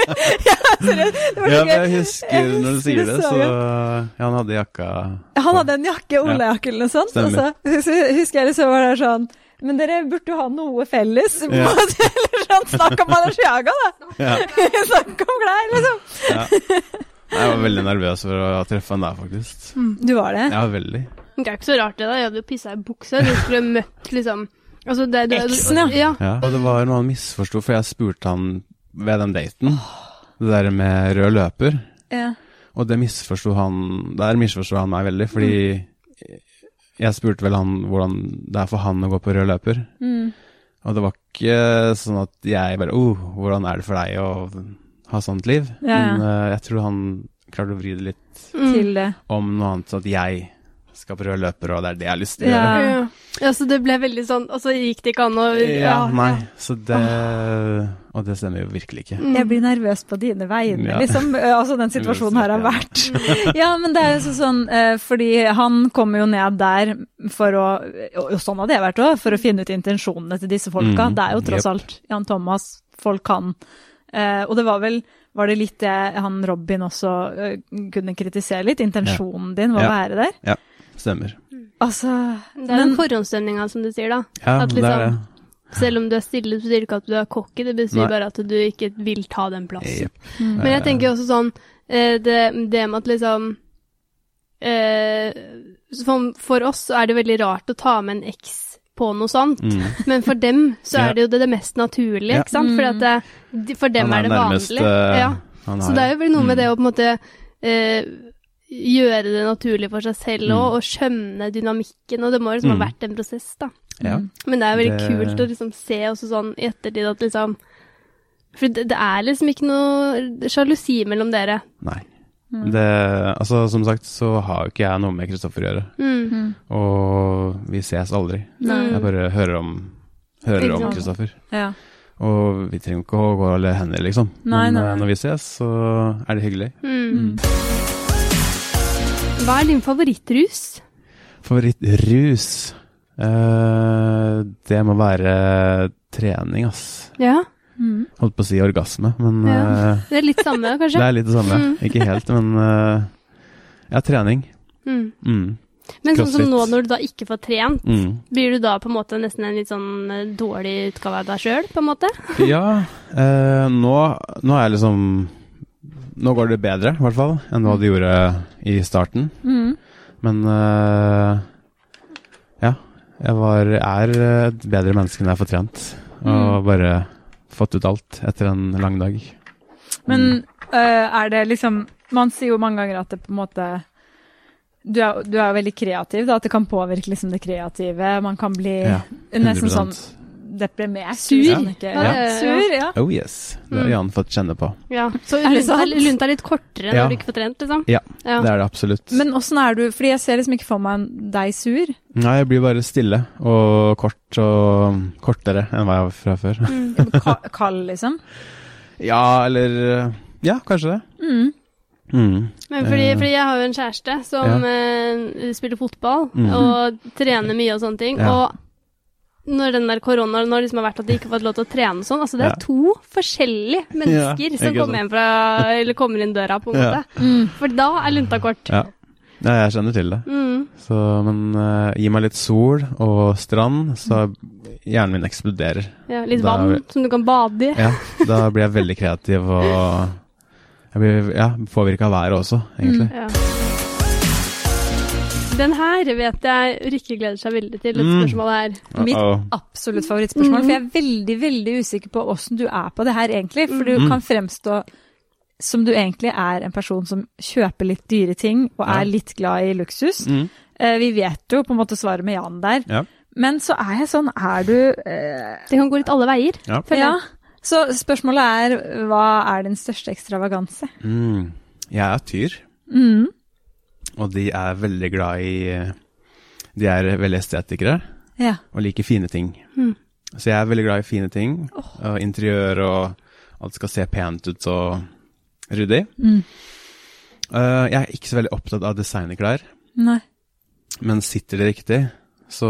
[SPEAKER 1] seriøst. [LAUGHS] Det var
[SPEAKER 3] Ja,
[SPEAKER 1] så gøy.
[SPEAKER 3] men jeg husker
[SPEAKER 1] Jeg
[SPEAKER 3] når du sier det,
[SPEAKER 1] husker
[SPEAKER 3] så
[SPEAKER 1] det
[SPEAKER 3] ja, han hadde jakka
[SPEAKER 1] Han hadde en jakke, olajakke eller noe sånt, og så
[SPEAKER 3] Stemmer.
[SPEAKER 1] så husker jeg det så var det sånn men dere burde jo ha noe felles. [LAUGHS]
[SPEAKER 3] Ja.
[SPEAKER 1] Eller sånn, snakk om Balenciaga, da! [LAUGHS]
[SPEAKER 3] Ja.
[SPEAKER 1] Snakk om klær, liksom.
[SPEAKER 3] Jeg var veldig nervøs for å treffe han der, faktisk.
[SPEAKER 1] Du var det?
[SPEAKER 3] Ja, veldig.
[SPEAKER 2] Det er ikke så rart det, da. Jeg hadde jo pissa i buksa. Du skulle møtt liksom altså, det, det,
[SPEAKER 1] Eksen, ja.
[SPEAKER 2] ja.
[SPEAKER 3] Ja. Og det var noe han misforsto, for jeg spurte han ved den daten, det der med rød løper,
[SPEAKER 1] Ja.
[SPEAKER 3] og det misforsto han Der misforsto han meg veldig, fordi jeg spurte vel han hvordan det er for han å gå på rød løper.
[SPEAKER 1] Mm.
[SPEAKER 3] Og det var ikke sånn at jeg bare Oh, hvordan er det for deg å ha sånt liv?
[SPEAKER 1] Ja, ja.
[SPEAKER 3] Men eh, jeg tror han klarte å vri det litt
[SPEAKER 2] mm.
[SPEAKER 1] Til det.
[SPEAKER 3] om noe annet, så at jeg skal på rød løper, og det er det jeg har lyst til å
[SPEAKER 1] Ja.
[SPEAKER 3] gjøre.
[SPEAKER 2] Ja. ja, så det ble veldig sånn Og så gikk det ikke an å
[SPEAKER 3] Ja, nei, så det Og det stemmer jo virkelig ikke.
[SPEAKER 1] Jeg blir nervøs på dine vegne,
[SPEAKER 3] Ja. [LAUGHS]
[SPEAKER 1] liksom. Eh, Altså, den situasjonen her har vært [LAUGHS] Ja, men det er jo så sånn eh, Fordi han kommer jo ned der for å Og og sånn har det vært òg, for å finne ut intensjonene til disse folka.
[SPEAKER 3] Mm,
[SPEAKER 1] Det er jo tross
[SPEAKER 3] jep.
[SPEAKER 1] alt Jan Thomas, folk kan Eh, Og det var vel Var det litt det han Robin også eh, kunne kritisere litt? Intensjonen din var å
[SPEAKER 3] Ja.
[SPEAKER 1] være der?
[SPEAKER 3] Stemmer.
[SPEAKER 1] Altså
[SPEAKER 2] Det er
[SPEAKER 1] men-
[SPEAKER 2] den forhåndsstemninga, altså, som du sier, da.
[SPEAKER 3] Ja,
[SPEAKER 2] At
[SPEAKER 3] det er det.
[SPEAKER 2] liksom- Selv om du er stille, så sier du ikke at du er cocky. Det betyr
[SPEAKER 3] Nei.
[SPEAKER 2] bare at du ikke vil ta den plassen.
[SPEAKER 3] Jep.
[SPEAKER 2] Men jeg tenker jo også sånn eh, det, det med at liksom eh, for, for oss så er det veldig rart å ta med en eks på noe sånt,
[SPEAKER 3] Mm.
[SPEAKER 2] men for dem så
[SPEAKER 3] Ja.
[SPEAKER 2] er det jo det, det mest naturlige,
[SPEAKER 3] Ja.
[SPEAKER 2] ikke sant? For at det, de- for dem
[SPEAKER 3] Han
[SPEAKER 2] er det
[SPEAKER 3] nærmest,
[SPEAKER 2] vanlig.
[SPEAKER 3] eh,
[SPEAKER 2] ja.
[SPEAKER 3] han
[SPEAKER 2] Så
[SPEAKER 3] har- Mm.
[SPEAKER 2] det er jo vel noe med det å på en måte eh, gjøre det naturlig for seg selv òg, og skjønne dynamikken, og det må jo liksom
[SPEAKER 3] Mm.
[SPEAKER 2] ha vært en prosess, da.
[SPEAKER 3] ja.
[SPEAKER 2] Men det er jo veldig
[SPEAKER 3] Det-
[SPEAKER 2] kult å liksom se også sånn i ettertid at liksom For det, det er liksom ikke noe sjalusi mellom dere.
[SPEAKER 3] Nei.
[SPEAKER 2] Mm.
[SPEAKER 3] Det, altså, som sagt så har jo ikke jeg noe med Kristoffer å gjøre,
[SPEAKER 2] Mm.
[SPEAKER 3] og vi ses aldri. Jeg bare hører om Hører om
[SPEAKER 2] Ikke sant.
[SPEAKER 3] Kristoffer.
[SPEAKER 1] Ja.
[SPEAKER 3] Og vi trenger ikke å gå alle hender, liksom.
[SPEAKER 1] Nei,
[SPEAKER 3] Men
[SPEAKER 1] nei.
[SPEAKER 3] eh, når vi ses, så er det hyggelig.
[SPEAKER 2] Mm. Hva er din favorittrus?
[SPEAKER 3] Favorittrus eh, Det må være trening, ass.
[SPEAKER 2] Ja,
[SPEAKER 1] Mm.
[SPEAKER 3] Holdt på å si orgasme, men
[SPEAKER 2] Ja.
[SPEAKER 3] eh,
[SPEAKER 2] det er litt samme,
[SPEAKER 1] Mm.
[SPEAKER 3] det
[SPEAKER 2] kanskje.
[SPEAKER 3] er litt det samme. Ikke helt, men eh, ja, trening.
[SPEAKER 2] Mm.
[SPEAKER 3] Mm.
[SPEAKER 2] Men sånn som
[SPEAKER 3] Crossfit.
[SPEAKER 2] nå når du da ikke får trent,
[SPEAKER 3] Mm.
[SPEAKER 2] blir du da på en måte nesten en litt sånn eh, dårlig utgave av deg sjøl, på en måte?
[SPEAKER 3] Ja, eh, nå, nå er jeg liksom Nå går det bedre, i hvert fall, enn hva det gjorde i starten.
[SPEAKER 1] Mm.
[SPEAKER 3] Men eh, ja. Jeg var, er et bedre menneske enn jeg får trent.
[SPEAKER 1] Mm.
[SPEAKER 3] Og bare fått ut alt etter en lang dag. Mm.
[SPEAKER 1] Men øh, er det liksom Man sier jo mange ganger at det på en måte Du er du er jo veldig kreativ, da, at det kan påvirke liksom det kreative. Man kan bli
[SPEAKER 3] Ja,
[SPEAKER 1] nesten
[SPEAKER 3] 100%.
[SPEAKER 1] sånn deprimert.
[SPEAKER 2] Sur.
[SPEAKER 1] hvis man ikke-
[SPEAKER 2] Ja,
[SPEAKER 1] Ja.
[SPEAKER 2] det-
[SPEAKER 1] Sur, ja.
[SPEAKER 3] Oh yes. Det
[SPEAKER 1] Mm.
[SPEAKER 3] har Jan fått kjenne på.
[SPEAKER 2] Ja. Så
[SPEAKER 1] Er det
[SPEAKER 2] lunta,
[SPEAKER 1] sant?
[SPEAKER 2] lunta er litt kortere når
[SPEAKER 3] Ja.
[SPEAKER 2] du ikke får trent, liksom?
[SPEAKER 3] Ja,
[SPEAKER 2] Ja.
[SPEAKER 3] det er det absolutt.
[SPEAKER 1] Men åssen er du Fordi jeg ser liksom ikke for meg en- deg sur.
[SPEAKER 3] Nei, jeg blir bare stille og kort og kortere enn hva jeg var fra før.
[SPEAKER 2] Mm.
[SPEAKER 1] Ka kald, liksom.
[SPEAKER 3] Ja, eller eh, Ja, kanskje det.
[SPEAKER 1] Mm.
[SPEAKER 3] Mm.
[SPEAKER 2] Men fordi,
[SPEAKER 3] Eh.
[SPEAKER 2] fordi jeg har jo en kjæreste som
[SPEAKER 3] Ja.
[SPEAKER 2] eh, spiller fotball
[SPEAKER 3] Mhm.
[SPEAKER 2] og trener mye og sånne ting.
[SPEAKER 3] Ja.
[SPEAKER 2] Og når den der koronaen nå liksom har vært at de ikke har fått lov til å trene og sånn, altså det
[SPEAKER 3] Ja.
[SPEAKER 2] er to forskjellige mennesker
[SPEAKER 3] Ja,
[SPEAKER 2] som
[SPEAKER 3] ikke
[SPEAKER 2] kommer hjem fra, eller kommer inn døra, på en
[SPEAKER 3] Ja.
[SPEAKER 2] måte. For da er lunta kort.
[SPEAKER 3] Ja. Nei, jeg kjenner til det.
[SPEAKER 2] Mm.
[SPEAKER 3] Så, men eh, gi meg litt sol og strand, så hjernen min eksploderer.
[SPEAKER 2] Ja, litt
[SPEAKER 3] Da er
[SPEAKER 2] vann som du kan bade i.
[SPEAKER 3] Ja, da blir jeg veldig kreativ og jeg blir ja, påvirka av været også, egentlig.
[SPEAKER 2] Ja. Den her vet jeg Rikke gleder seg veldig til, dette
[SPEAKER 3] Mm.
[SPEAKER 2] spørsmålet her.
[SPEAKER 1] Mitt
[SPEAKER 3] Uh-oh.
[SPEAKER 1] absolutt favorittspørsmål, for jeg er veldig, veldig usikker på åssen du er på det her, egentlig. For du
[SPEAKER 3] Mm.
[SPEAKER 1] kan fremstå som du egentlig er en person som kjøper litt dyre ting, og er
[SPEAKER 3] Ja.
[SPEAKER 1] litt glad i luksus.
[SPEAKER 3] Mm.
[SPEAKER 1] Eh, Vi vet jo på en måte svaret med Jan der.
[SPEAKER 3] Ja.
[SPEAKER 1] Men så er jeg sånn, er du eh,
[SPEAKER 2] Det kan gå litt alle veier,
[SPEAKER 3] Ja.
[SPEAKER 2] føler
[SPEAKER 1] Ja.
[SPEAKER 2] jeg.
[SPEAKER 1] Så spørsmålet er, hva er din største ekstravaganse?
[SPEAKER 3] Mm. Jeg er tyr,
[SPEAKER 1] Mm.
[SPEAKER 3] og de er veldig glad i De er veldig estetikere
[SPEAKER 1] Ja.
[SPEAKER 3] og liker fine ting.
[SPEAKER 2] Mm.
[SPEAKER 3] Så jeg er veldig glad i fine ting, og interiør og alt skal se pent ut og ryddig.
[SPEAKER 1] Mm.
[SPEAKER 3] Eh, jeg er ikke så veldig opptatt av designerklær,
[SPEAKER 1] Nei.
[SPEAKER 3] men sitter det riktig, så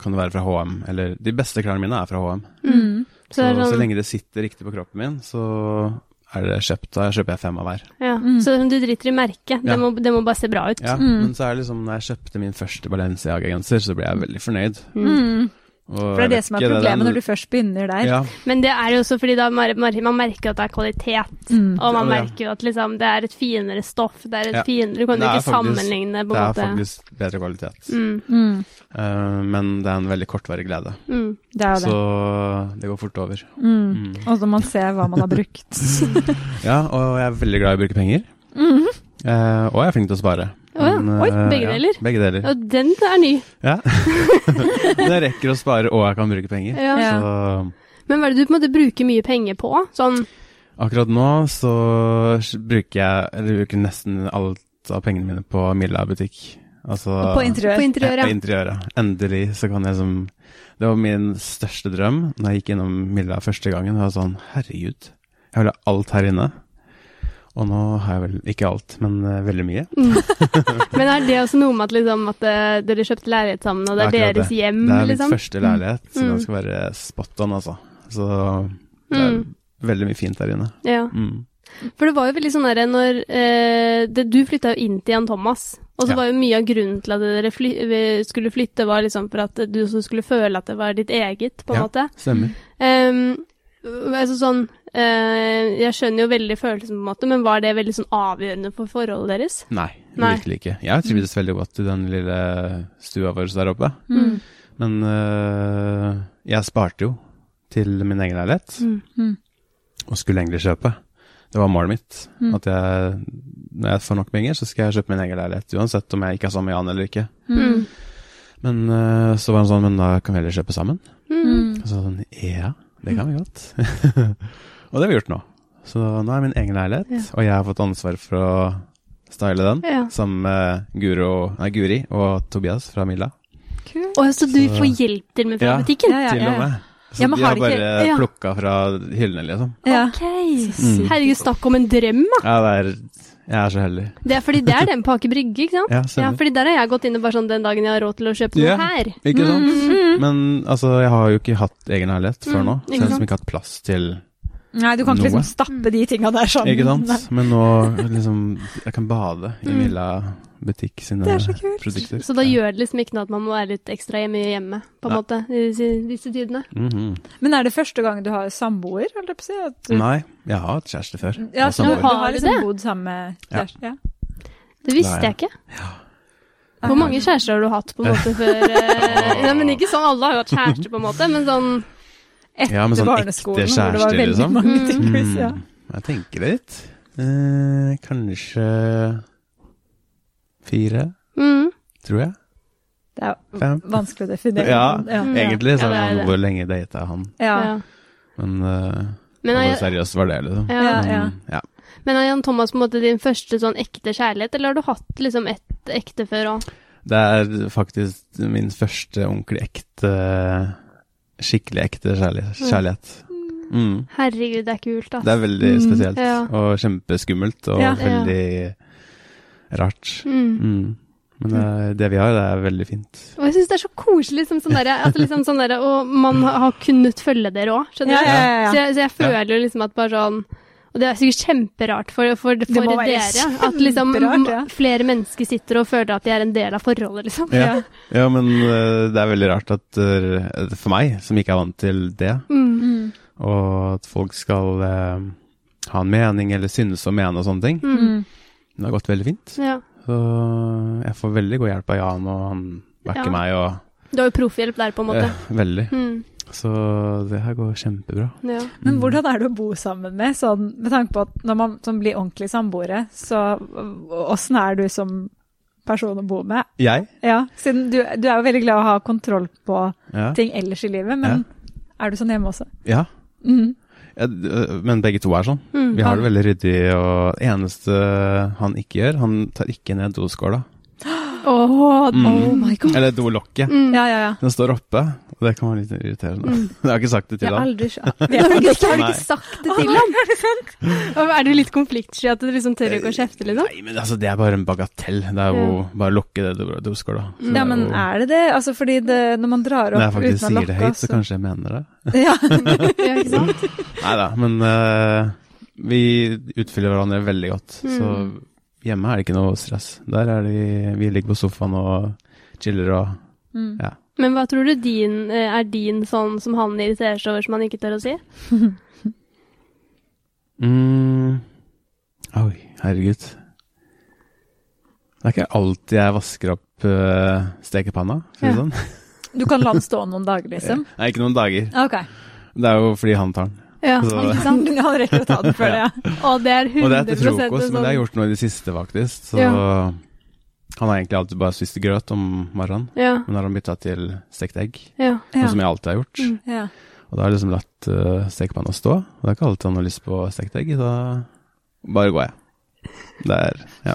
[SPEAKER 3] kan det være fra HM. Eller de beste klærne mine er fra HM.
[SPEAKER 1] Mm.
[SPEAKER 2] Så
[SPEAKER 3] Så,
[SPEAKER 2] det er
[SPEAKER 3] så
[SPEAKER 2] sånn-
[SPEAKER 3] lenge det sitter riktig på kroppen min, så er det kjøpt. Da kjøper jeg fem av hver.
[SPEAKER 2] Ja. Så det er som du driter i merket. Det,
[SPEAKER 3] Ja.
[SPEAKER 2] må, det må bare se bra ut.
[SPEAKER 3] Ja,
[SPEAKER 1] Mm.
[SPEAKER 3] Men så er det liksom når jeg kjøpte min første Balenciaga-genser, så ble jeg veldig fornøyd.
[SPEAKER 1] Mm.
[SPEAKER 3] Og
[SPEAKER 1] For det er det som er problemet når du først begynner der.
[SPEAKER 3] Ja,
[SPEAKER 2] Men det er jo også fordi da mer- mer- man merker at det er kvalitet.
[SPEAKER 1] Mm.
[SPEAKER 2] Og man
[SPEAKER 3] Ja, ja.
[SPEAKER 2] merker jo at liksom, det er et finere stoff. Det er et
[SPEAKER 3] Ja.
[SPEAKER 2] finere, Du kan jo
[SPEAKER 3] Det er
[SPEAKER 2] ikke
[SPEAKER 3] faktisk-
[SPEAKER 2] sammenligne på en
[SPEAKER 3] det er
[SPEAKER 2] måte.
[SPEAKER 3] faktisk bedre kvalitet.
[SPEAKER 2] Mm,
[SPEAKER 1] Mm.
[SPEAKER 3] Eh, men det er en veldig kortvarig glede,
[SPEAKER 2] mm.
[SPEAKER 1] Det er jo
[SPEAKER 3] så
[SPEAKER 1] det.
[SPEAKER 3] det går fort over.
[SPEAKER 1] Mm.
[SPEAKER 3] Mm.
[SPEAKER 1] Og så må man se hva man har
[SPEAKER 3] [LAUGHS]
[SPEAKER 1] brukt.
[SPEAKER 3] Ja, og jeg er veldig glad i å bruke penger. Eh, og jeg er flink til å spare.
[SPEAKER 2] Å ja. Oi,
[SPEAKER 3] eh,
[SPEAKER 2] begge deler?
[SPEAKER 3] Ja,
[SPEAKER 2] [LAUGHS]
[SPEAKER 3] begge deler.
[SPEAKER 2] Og den er ny.
[SPEAKER 3] Ja. Men jeg rekker å spare, og jeg kan bruke penger.
[SPEAKER 2] Ja.
[SPEAKER 1] Ja.
[SPEAKER 3] Så
[SPEAKER 2] Men hva er det du på en måte bruker mye penger på? Sånn,
[SPEAKER 3] akkurat nå så bruker jeg eller bruker nesten alt av pengene mine på Milla butikk. Altså,
[SPEAKER 1] Og på interiør.
[SPEAKER 2] på
[SPEAKER 3] Ja,
[SPEAKER 2] interiøret.
[SPEAKER 3] på interiøret. Endelig så kan jeg som Det var min største drøm da jeg gikk innom Milla første gangen. Det var sånn herregud, jeg vil ha alt her inne. Og nå har jeg vel ikke alt, men eh, veldig mye.
[SPEAKER 2] Mm. [LAUGHS] Men er det også noe med at, liksom, at eh, dere kjøpte leilighet sammen, og det er
[SPEAKER 3] Det er akkurat
[SPEAKER 2] deres hjem,
[SPEAKER 3] Det er mitt
[SPEAKER 2] liksom?
[SPEAKER 3] første leilighet, så
[SPEAKER 2] Mm.
[SPEAKER 3] den skal være spot on, altså. Så det er
[SPEAKER 2] Mm.
[SPEAKER 3] veldig mye fint der inne.
[SPEAKER 2] Ja.
[SPEAKER 3] Mm.
[SPEAKER 2] For det var jo veldig sånn derre når eh, det, Du flytta jo inn til Jan Thomas, og så
[SPEAKER 3] Ja.
[SPEAKER 2] var jo mye av grunnen til at dere fly, eh, skulle flytte, var liksom for at du også skulle føle at det var ditt eget, på en
[SPEAKER 3] Ja.
[SPEAKER 2] måte.
[SPEAKER 3] Stemmer.
[SPEAKER 2] Ehm, altså sånn eh, Jeg skjønner jo veldig følelsen, på en måte, men var det veldig sånn avgjørende for forholdet deres?
[SPEAKER 3] Nei,
[SPEAKER 2] Nei.
[SPEAKER 3] virkelig ikke. Jeg trivdes veldig godt i den lille stua vår der oppe.
[SPEAKER 1] Mm.
[SPEAKER 3] Men øh, jeg sparte jo til min egen leilighet,
[SPEAKER 2] Mm.
[SPEAKER 1] Mm.
[SPEAKER 3] og skulle egentlig kjøpe. Det var målet mitt.
[SPEAKER 1] Mm.
[SPEAKER 3] At jeg, når jeg får nok penger, så skal jeg kjøpe min egen leilighet. Uansett om jeg ikke er sammen med Jan eller ikke.
[SPEAKER 1] Mm.
[SPEAKER 3] Men øh, så var han sånn, men da kan vi heller kjøpe sammen.
[SPEAKER 2] Mm.
[SPEAKER 3] Og så sånn, ja, det kan vi godt. [LAUGHS] og det har vi gjort nå. Så nå er min egen leilighet, og jeg har fått ansvar for å style den.
[SPEAKER 2] Ja.
[SPEAKER 3] Sammen med Guro, nei, Guri og Tobias fra Milla.
[SPEAKER 1] Kult.
[SPEAKER 2] Og så du
[SPEAKER 3] Så-
[SPEAKER 2] får hjelp til med fra
[SPEAKER 3] Ja.
[SPEAKER 2] butikken?
[SPEAKER 1] Ja, ja,
[SPEAKER 3] til
[SPEAKER 1] ja, ja.
[SPEAKER 3] og med. Så
[SPEAKER 1] Ja, men
[SPEAKER 3] de
[SPEAKER 1] har
[SPEAKER 3] har
[SPEAKER 1] de
[SPEAKER 3] bare
[SPEAKER 1] ikke-
[SPEAKER 2] ja.
[SPEAKER 3] plukka fra hyllene, liksom.
[SPEAKER 1] Ja.
[SPEAKER 2] Ok.
[SPEAKER 3] Mm.
[SPEAKER 2] Herregud, snakk om en drøm, da!
[SPEAKER 3] Ja, det er, jeg er så heldig.
[SPEAKER 2] Det er fordi det er den på Aker Brygge, ikke sant?
[SPEAKER 3] Ja,
[SPEAKER 2] Ja,
[SPEAKER 3] stemmer.
[SPEAKER 2] fordi der har jeg gått inn og bare sånn den dagen jeg har råd til å kjøpe noe
[SPEAKER 3] Ja.
[SPEAKER 2] her.
[SPEAKER 1] Mm.
[SPEAKER 3] Ikke sant? Men altså, jeg har jo ikke hatt egen leilighet før
[SPEAKER 2] Mm,
[SPEAKER 3] nå,
[SPEAKER 2] ikke
[SPEAKER 3] så jeg har
[SPEAKER 2] sant.
[SPEAKER 3] liksom ikke hatt plass til
[SPEAKER 1] Nei, du kan ikke
[SPEAKER 3] Noe.
[SPEAKER 1] liksom stappe de tinga der sammen.
[SPEAKER 3] Ikke
[SPEAKER 1] Nei.
[SPEAKER 3] sant? Men nå liksom Jeg kan bade i
[SPEAKER 2] Mm.
[SPEAKER 3] Milla butikk sine
[SPEAKER 1] Det er så kult.
[SPEAKER 3] produkter.
[SPEAKER 2] Så da
[SPEAKER 3] Ja.
[SPEAKER 2] gjør det liksom ikke noe at man må være litt ekstra hjemme i hjemmet, på en
[SPEAKER 3] Nei.
[SPEAKER 2] måte, i disse, disse tidene.
[SPEAKER 3] Mhm.
[SPEAKER 1] Men er det første gang du har samboer, holdt jeg på å si? At du,
[SPEAKER 3] Nei, jeg har hatt kjæreste før.
[SPEAKER 1] Ja,
[SPEAKER 3] og
[SPEAKER 1] så du,
[SPEAKER 3] samboer.
[SPEAKER 1] du
[SPEAKER 2] Har
[SPEAKER 1] har
[SPEAKER 2] du
[SPEAKER 1] liksom
[SPEAKER 2] det?
[SPEAKER 1] bodd sammen med
[SPEAKER 3] Ja.
[SPEAKER 1] kjæresten? Ja.
[SPEAKER 2] Det visste
[SPEAKER 3] Nei.
[SPEAKER 2] jeg ikke. Hvor mange kjærester har du hatt, på en måte, før eh,
[SPEAKER 3] [LAUGHS]
[SPEAKER 2] Nei, men ikke sånn alle har jo hatt kjæreste, på en måte, men sånn
[SPEAKER 1] Etter
[SPEAKER 3] Ja, men sånn ekte
[SPEAKER 1] barneskolen, hvor det var
[SPEAKER 3] kjærester,
[SPEAKER 1] veldig
[SPEAKER 3] liksom.
[SPEAKER 1] mange
[SPEAKER 2] Mm.
[SPEAKER 1] tydeligvis. Ja.
[SPEAKER 3] Mm, Jeg tenker litt. Eh, kanskje fire,
[SPEAKER 2] mm.
[SPEAKER 3] tror jeg.
[SPEAKER 1] Det er
[SPEAKER 3] Fem.
[SPEAKER 1] vanskelig å definere.
[SPEAKER 3] Ja,
[SPEAKER 2] Mm.
[SPEAKER 3] Egentlig så
[SPEAKER 2] Ja, det er
[SPEAKER 3] er det
[SPEAKER 2] det.
[SPEAKER 3] hvor lenge data han,
[SPEAKER 1] Ja.
[SPEAKER 2] ja.
[SPEAKER 3] men eh,
[SPEAKER 2] Men
[SPEAKER 3] hvor
[SPEAKER 2] er,
[SPEAKER 3] seriøst var det, liksom?
[SPEAKER 2] ja.
[SPEAKER 1] Ja, ja.
[SPEAKER 3] Men, ja.
[SPEAKER 2] Men er Jan Thomas på en måte din første sånn ekte kjærlighet, eller har du hatt liksom ett ekte før òg?
[SPEAKER 3] Det er faktisk min første ordentlig ekte Skikkelig ekte kjærlighet. kjærlighet. Mm.
[SPEAKER 2] Herregud, det er kult, ass.
[SPEAKER 3] Det er veldig
[SPEAKER 1] Mm.
[SPEAKER 3] spesielt,
[SPEAKER 2] Ja.
[SPEAKER 3] og kjempeskummelt, og
[SPEAKER 1] Ja.
[SPEAKER 3] veldig rart.
[SPEAKER 2] Mm.
[SPEAKER 3] Mm. Men det, det vi har, det er veldig fint.
[SPEAKER 2] Og jeg syns det er så koselig, liksom, sånn der, at liksom, sånn der, og man har har kunnet følge dere òg, skjønner
[SPEAKER 1] Ja,
[SPEAKER 2] du?
[SPEAKER 1] ja, ja, ja.
[SPEAKER 2] Så, jeg, så jeg føler jo liksom at bare sånn Og det er sikkert kjemperart for, for, for
[SPEAKER 1] må være
[SPEAKER 2] dere. At liksom
[SPEAKER 1] kjemperart, ja.
[SPEAKER 2] flere mennesker sitter og føler at de er en del av forholdet, liksom.
[SPEAKER 1] Ja.
[SPEAKER 3] Ja, men eh, det er veldig rart at eh, for meg, som ikke er vant til det,
[SPEAKER 2] Mm.
[SPEAKER 1] Mm.
[SPEAKER 3] og at folk skal eh, ha en mening eller synes å mene og sånne ting,
[SPEAKER 2] Mm.
[SPEAKER 1] Mm.
[SPEAKER 3] det har gått veldig fint.
[SPEAKER 2] Ja.
[SPEAKER 3] Så jeg får veldig god hjelp av Jan, og han backer
[SPEAKER 2] Ja.
[SPEAKER 3] meg og
[SPEAKER 2] Du har jo proffhjelp der, på en måte.
[SPEAKER 3] eh, Veldig.
[SPEAKER 2] Mm.
[SPEAKER 3] Så det her går kjempebra.
[SPEAKER 2] Ja.
[SPEAKER 3] Mm.
[SPEAKER 1] Men hvordan er det å bo sammen med, sånn, med tanke på at når man sånn, blir ordentlig samboere, så åssen er du som person å bo med?
[SPEAKER 3] Jeg?
[SPEAKER 1] Ja, siden du, du er jo veldig glad i å ha kontroll på
[SPEAKER 3] Ja.
[SPEAKER 1] ting ellers i livet, men er du sånn hjemme også?
[SPEAKER 3] ja.
[SPEAKER 1] Mm.
[SPEAKER 3] Ja, d- øh, Men begge to er sånn.
[SPEAKER 2] Mm.
[SPEAKER 3] Vi har det veldig ryddig, og det eneste han ikke gjør, han tar ikke ned doskåla.
[SPEAKER 1] Åh,
[SPEAKER 3] Mm.
[SPEAKER 1] Oh my god.
[SPEAKER 3] Eller dolokket.
[SPEAKER 1] Ja, ja, ja.
[SPEAKER 3] Den står oppe, og det kan være litt irriterende. Jeg har ikke sagt [LAUGHS] det
[SPEAKER 1] Jeg
[SPEAKER 3] til
[SPEAKER 1] har
[SPEAKER 3] han.
[SPEAKER 1] aldri [LAUGHS] skjønt Mm. det. er faktisk-
[SPEAKER 2] Har du
[SPEAKER 3] Nei.
[SPEAKER 2] ikke sagt det til ham? Og Er du litt konfliktsky at du liksom tør ikke å kjefte, liksom?
[SPEAKER 3] Nei, men altså, det er bare en bagatell. Det er jo bare å lukke det do- doskåla. Så
[SPEAKER 1] Ja,
[SPEAKER 3] det er
[SPEAKER 1] men
[SPEAKER 3] jo-
[SPEAKER 1] er det det? Altså, fordi det, når man drar
[SPEAKER 3] Når jeg
[SPEAKER 1] opp
[SPEAKER 3] faktisk
[SPEAKER 1] uten å altså?
[SPEAKER 3] sier
[SPEAKER 1] lokke
[SPEAKER 3] det høyt, så
[SPEAKER 1] så-
[SPEAKER 3] kanskje jeg mener det.
[SPEAKER 1] [LAUGHS] Ja.
[SPEAKER 2] Ja, ikke sant?
[SPEAKER 3] Nei da, men øh, vi utfyller hverandre veldig godt. Så hjemme er det ikke noe stress. Der er det vi ligger på sofaen og chiller og
[SPEAKER 1] Mm.
[SPEAKER 3] ja.
[SPEAKER 2] Men hva tror du din, eh, er din sånn som han irriterer seg over som han ikke tør å si?
[SPEAKER 3] Mm. Oi, herregud. Det er ikke alltid jeg vasker opp øh, stekepanna, for å si det
[SPEAKER 2] Ja.
[SPEAKER 3] sånn.
[SPEAKER 1] Du kan la den stå noen dager, liksom?
[SPEAKER 3] [LAUGHS] Nei, ikke noen dager.
[SPEAKER 1] Ok.
[SPEAKER 3] Det er jo fordi han tar den.
[SPEAKER 2] Ja,
[SPEAKER 3] Så-
[SPEAKER 2] ikke
[SPEAKER 3] [LAUGHS]
[SPEAKER 2] sant?
[SPEAKER 1] Han rekker å ta den før det, ja.
[SPEAKER 2] Og det er 100
[SPEAKER 3] Og det er til frokost,
[SPEAKER 2] en
[SPEAKER 3] men det har jeg
[SPEAKER 2] sånn-
[SPEAKER 3] gjort nå i det siste, faktisk. Så
[SPEAKER 2] Ja.
[SPEAKER 3] han har egentlig alltid bare spist grøt om morgenen,
[SPEAKER 2] Ja,
[SPEAKER 3] men nå har han bytta til stekt egg,
[SPEAKER 2] ja.
[SPEAKER 3] noe
[SPEAKER 1] Ja.
[SPEAKER 3] Sånn som jeg alltid har gjort.
[SPEAKER 2] Mm.
[SPEAKER 1] ja.
[SPEAKER 3] Og da har jeg liksom latt uh, stekepanna stå, og det er ikke alltid han har lyst på stekt egg, da bare går jeg. Det er ja.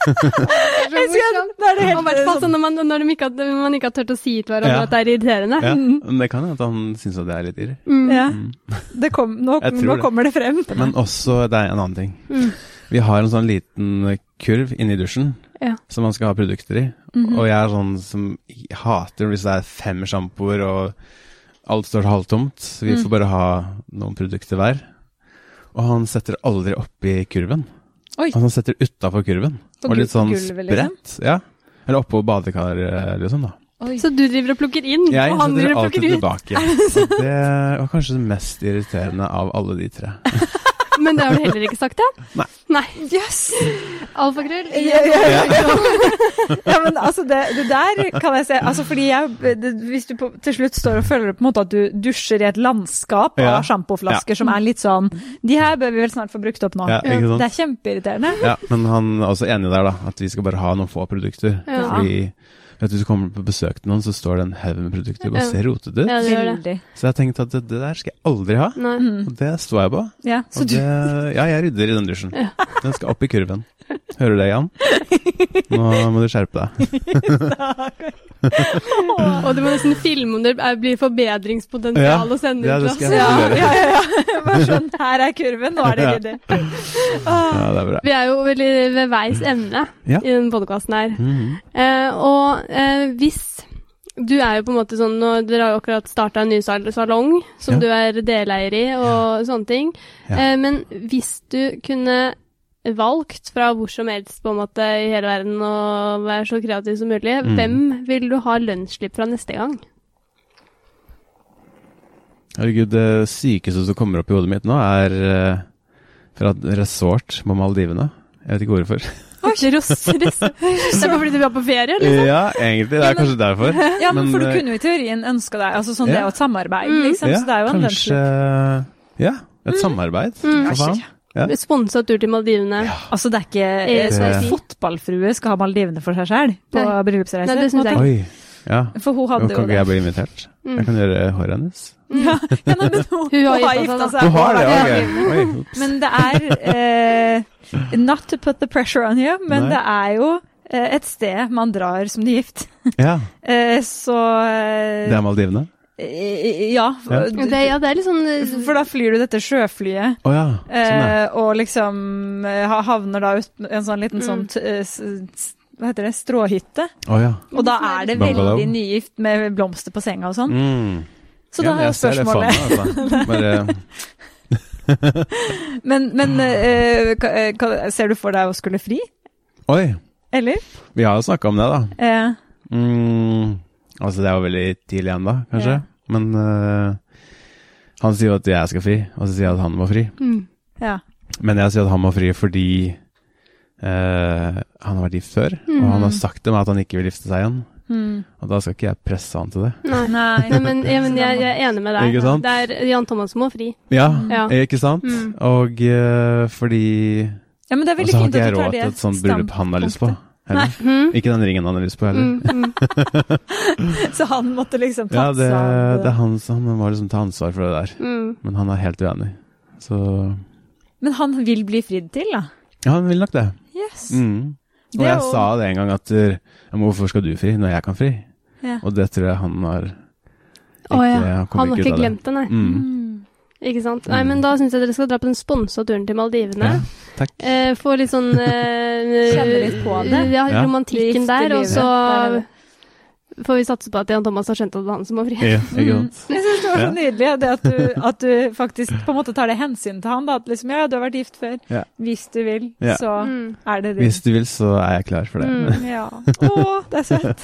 [SPEAKER 1] Jeg skal, da er det
[SPEAKER 2] Og
[SPEAKER 1] helt
[SPEAKER 2] hvert fall
[SPEAKER 1] sånn-
[SPEAKER 2] sånn når, man, når de ikke, har- når man ikke har tørt å si til hverandre
[SPEAKER 3] Ja.
[SPEAKER 2] at det er irriterende.
[SPEAKER 3] ja. Men det kan hende at han syns at det er litt irr.
[SPEAKER 2] Mm.
[SPEAKER 1] ja. det kom, nå,
[SPEAKER 3] Jeg tror
[SPEAKER 1] nå
[SPEAKER 3] det.
[SPEAKER 1] kommer det frem.
[SPEAKER 3] Men også, det er en annen ting.
[SPEAKER 2] Mm.
[SPEAKER 3] Vi har en sånn liten kurv inni dusjen
[SPEAKER 2] Ja.
[SPEAKER 3] som man skal ha produkter i.
[SPEAKER 1] Mhm. Mm.
[SPEAKER 3] Og jeg er sånn som hater hvis det er fem sjampoer og alt står halvtomt. Så vi får bare ha noen produkter hver. Og han setter aldri oppi kurven. Altså,
[SPEAKER 1] Oi.
[SPEAKER 3] Han setter utafor kurven.
[SPEAKER 1] På
[SPEAKER 3] og litt
[SPEAKER 1] gu-
[SPEAKER 3] sånn
[SPEAKER 1] gulvet, liksom?
[SPEAKER 3] spredt. Ja. Eller oppå badekar, eh, liksom,
[SPEAKER 1] [LAUGHS]
[SPEAKER 3] da.
[SPEAKER 2] Så du driver og plukker inn,
[SPEAKER 3] Jeg
[SPEAKER 2] og han
[SPEAKER 3] setter
[SPEAKER 2] driver og
[SPEAKER 3] alltid
[SPEAKER 2] plukker ut.
[SPEAKER 1] [LAUGHS]
[SPEAKER 3] tilbake. Og det var kanskje det mest irriterende av alle de tre.
[SPEAKER 2] Men det har du heller ikke sagt, ja?
[SPEAKER 3] [LAUGHS] Nei.
[SPEAKER 2] Nei.
[SPEAKER 1] Yes!
[SPEAKER 2] Alfakrøll.
[SPEAKER 1] Ja, ja, ja, ja. [LAUGHS] ja, men altså, det, det der kan jeg se. Altså, fordi jeg det, Hvis du på, til slutt står og føler på en måte at du dusjer i et landskap
[SPEAKER 3] Ja.
[SPEAKER 1] av sjampoflasker som er litt sånn De her bør vi vel snart få brukt opp nå.
[SPEAKER 3] Ja, ikke sant?
[SPEAKER 1] Det er kjempeirriterende.
[SPEAKER 3] Ja, men han er også enig der, da. At vi skal bare ha noen få produkter.
[SPEAKER 2] Ja.
[SPEAKER 3] Fordi vet du, hvis du kommer på besøk til noen, så står det en haug med produkter. Bare
[SPEAKER 2] Ja.
[SPEAKER 3] ser rotete ut.
[SPEAKER 2] Ja, det gjør det.
[SPEAKER 1] Veldig. Mm.
[SPEAKER 3] Så jeg tenkte at det, det der skal jeg aldri ha.
[SPEAKER 2] Nei.
[SPEAKER 3] Og det står jeg på.
[SPEAKER 1] Ja, så
[SPEAKER 3] Og
[SPEAKER 1] du, [LAUGHS]
[SPEAKER 3] det, ja, jeg rydder i den dusjen. Den skal opp i kurven. Hører du det, Jan? Nå må du
[SPEAKER 1] [LAUGHS]
[SPEAKER 3] skjerpe deg.
[SPEAKER 2] Og du må nesten filme om det er- blir forbedringspotensial
[SPEAKER 3] Ja.
[SPEAKER 2] å sende
[SPEAKER 3] Ja,
[SPEAKER 2] ut
[SPEAKER 3] det
[SPEAKER 2] til
[SPEAKER 3] skal
[SPEAKER 2] oss.
[SPEAKER 3] jeg
[SPEAKER 1] ja,
[SPEAKER 3] gjøre.
[SPEAKER 1] ja, ja, ja. Bare sånn Her er kurven, nå er det ryddig.
[SPEAKER 3] Ja, det er bra.
[SPEAKER 2] Vi er jo veldig ved veis ende
[SPEAKER 3] Ja.
[SPEAKER 2] i denne podkasten her.
[SPEAKER 3] Mhm.
[SPEAKER 2] Eh, og eh, hvis Du er jo på en måte sånn nå- Dere har jo akkurat starta en ny sal- salong som
[SPEAKER 3] Ja.
[SPEAKER 2] du er deleier i, og sånne ting.
[SPEAKER 3] Ja.
[SPEAKER 2] Eh, men hvis du kunne valgt fra hvor som helst på en måte i hele verden å være så kreativ som mulig,
[SPEAKER 3] Mm.
[SPEAKER 2] hvem vil du ha lønnsslipp fra neste gang?
[SPEAKER 3] Herregud, det sykeste som kommer opp i hodet mitt nå, er eh, fra et resort på Maldivene. Jeg vet ikke hvorfor.
[SPEAKER 2] Ross- Ross- Det er bare fordi du er på ferie, eller?
[SPEAKER 3] Ja, egentlig. Det er kanskje
[SPEAKER 1] [LAUGHS]
[SPEAKER 3] derfor.
[SPEAKER 1] Ja, men,
[SPEAKER 3] Men,
[SPEAKER 1] for du
[SPEAKER 3] eh,
[SPEAKER 1] kunne jo i teorien ønske deg altså sånn, Det er
[SPEAKER 3] ja.
[SPEAKER 1] jo et samarbeid,
[SPEAKER 2] Mm.
[SPEAKER 1] liksom, så det er jo en
[SPEAKER 3] kanskje
[SPEAKER 1] lønnsslipp.
[SPEAKER 3] Ja, et samarbeid.
[SPEAKER 2] Mm.
[SPEAKER 3] For faen. Ja.
[SPEAKER 2] Sponsa tur til Maldivene.
[SPEAKER 1] Altså, det er ikke
[SPEAKER 2] Eh,
[SPEAKER 1] eh,
[SPEAKER 3] det-
[SPEAKER 1] Fotballfrue skal ha Maldivene for seg sjøl på
[SPEAKER 2] Nei.
[SPEAKER 1] bryllupsreise.
[SPEAKER 2] Nei, det synes jeg
[SPEAKER 1] på en måte.
[SPEAKER 3] Oi. Ja.
[SPEAKER 1] For hun
[SPEAKER 3] Nå
[SPEAKER 1] hadde jo
[SPEAKER 3] kan ikke
[SPEAKER 1] det. Mm.
[SPEAKER 3] jeg bli invitert. Jeg kan gjøre håret hennes.
[SPEAKER 1] Ja, [LAUGHS] ja, nei, men hun,
[SPEAKER 2] Hun
[SPEAKER 1] hun
[SPEAKER 2] har
[SPEAKER 1] har
[SPEAKER 2] gifta
[SPEAKER 1] gifta
[SPEAKER 2] seg,
[SPEAKER 1] seg.
[SPEAKER 3] ja,
[SPEAKER 1] Ja.
[SPEAKER 3] ok. Oi, ups.
[SPEAKER 1] Men det er eh, Not to put the pressure on you, men
[SPEAKER 3] Nei.
[SPEAKER 1] det er jo eh, et sted man drar som nygift.
[SPEAKER 3] Ja,
[SPEAKER 1] Eh, så eh,
[SPEAKER 3] det er Maldivene.
[SPEAKER 1] eh, Ja.
[SPEAKER 3] Ja.
[SPEAKER 1] For,
[SPEAKER 2] Det, ja, det er litt sånn eh,
[SPEAKER 1] for da flyr du dette sjøflyet.
[SPEAKER 3] Å ja, sånn ja.
[SPEAKER 1] Eh, og liksom eh, ha- havner da ut en sånn liten
[SPEAKER 2] Mm.
[SPEAKER 1] sånn t eh, s s- Hva heter det? Stråhytte.
[SPEAKER 3] Å ja.
[SPEAKER 1] Og da er det sånn?
[SPEAKER 3] Bungalow.
[SPEAKER 1] veldig nygift med blomster på senga og sånn.
[SPEAKER 3] Mm.
[SPEAKER 1] Så da
[SPEAKER 3] Ja,
[SPEAKER 1] er jo
[SPEAKER 3] jeg ser det for
[SPEAKER 1] spørsmålet
[SPEAKER 3] meg, altså. Bare,
[SPEAKER 1] [LAUGHS] Men, men eh, ka- eh, ka- ser du for deg å skulle fri?
[SPEAKER 3] oi,
[SPEAKER 1] Eller?
[SPEAKER 3] vi har jo snakka om det, da.
[SPEAKER 1] Eh,
[SPEAKER 3] Mm, altså, det er jo veldig tidlig ennå, kanskje.
[SPEAKER 1] Ja.
[SPEAKER 3] Men eh, han sier jo at jeg skal fri, og så sier jeg at han må fri.
[SPEAKER 2] mm.
[SPEAKER 1] ja.
[SPEAKER 3] Men jeg sier at han må fri fordi eh, han har vært gift før, og han har sagt til meg at han ikke vil gifte seg igjen.
[SPEAKER 1] Mm.
[SPEAKER 3] Og da skal ikke jeg presse han til det.
[SPEAKER 2] Nei.
[SPEAKER 1] Nei.
[SPEAKER 2] Nei, men, ja, men jeg, jeg er enig med deg.
[SPEAKER 3] Ikke sant?
[SPEAKER 2] Det er Jan Thomas må fri.
[SPEAKER 3] Ja,
[SPEAKER 2] Ja.
[SPEAKER 3] Eh, ikke sant?
[SPEAKER 2] Mm.
[SPEAKER 3] Og eh, fordi
[SPEAKER 1] Ja, men det er
[SPEAKER 3] Og
[SPEAKER 1] veldig
[SPEAKER 3] så har
[SPEAKER 1] fint
[SPEAKER 3] ikke
[SPEAKER 1] at
[SPEAKER 3] jeg
[SPEAKER 1] du tar
[SPEAKER 3] råd
[SPEAKER 1] det
[SPEAKER 3] til et sånt bryllup han har lyst på. heller.
[SPEAKER 2] Mm.
[SPEAKER 3] Ikke den ringen han har lyst på heller.
[SPEAKER 2] Mm, mm.
[SPEAKER 1] standpunktet. [LAUGHS] Så han måtte liksom
[SPEAKER 3] Ja,
[SPEAKER 1] ta
[SPEAKER 3] det,
[SPEAKER 1] seg av
[SPEAKER 3] det er
[SPEAKER 1] det.
[SPEAKER 3] han som må liksom ta ansvar for det der.
[SPEAKER 2] Mm.
[SPEAKER 3] Men han er helt uenig. Så
[SPEAKER 1] Men han vil bli fridd til, da.
[SPEAKER 3] ja, han vil nok det.
[SPEAKER 1] Yes.
[SPEAKER 3] Mm. Og
[SPEAKER 1] Det er
[SPEAKER 3] jeg
[SPEAKER 1] jo-
[SPEAKER 3] sa det en gang at eh, ja, men hvorfor skal du fri når jeg kan fri?
[SPEAKER 1] Ja.
[SPEAKER 3] Og det tror jeg han har ikke,
[SPEAKER 2] Å ja.
[SPEAKER 3] han [LAUGHS] kommer
[SPEAKER 2] Han har ikke
[SPEAKER 3] ikke ut av det.
[SPEAKER 2] glemt det, nei.
[SPEAKER 3] Mm.
[SPEAKER 1] Mm.
[SPEAKER 2] Ikke sant? Nei, men da syns jeg dere skal dra på den sponsa turen til Maldivene.
[SPEAKER 3] Ja, takk.
[SPEAKER 2] Eh, få litt sånn eh,
[SPEAKER 1] Kjenne litt på det.
[SPEAKER 2] Ja,
[SPEAKER 3] Ja.
[SPEAKER 2] romantikken
[SPEAKER 1] Litt
[SPEAKER 2] der. Og
[SPEAKER 1] i livet.
[SPEAKER 2] så
[SPEAKER 1] Ja, det
[SPEAKER 2] får vi satse på at Jan Thomas har skjønt at det er han som må fri.
[SPEAKER 3] Ja, ikke sant.
[SPEAKER 1] Jeg syns det var så
[SPEAKER 3] Ja.
[SPEAKER 1] nydelig det at
[SPEAKER 3] [LAUGHS]
[SPEAKER 1] du, at du faktisk på en måte tar det hensyn til han. Da, at liksom, ja, du har vært gift før.
[SPEAKER 3] Ja.
[SPEAKER 1] Hvis du vil,
[SPEAKER 3] Ja.
[SPEAKER 1] så
[SPEAKER 2] Mm.
[SPEAKER 1] er det din.
[SPEAKER 3] Hvis du vil, så er jeg klar for det.
[SPEAKER 2] Mm.
[SPEAKER 1] Ja. Å, det er søtt.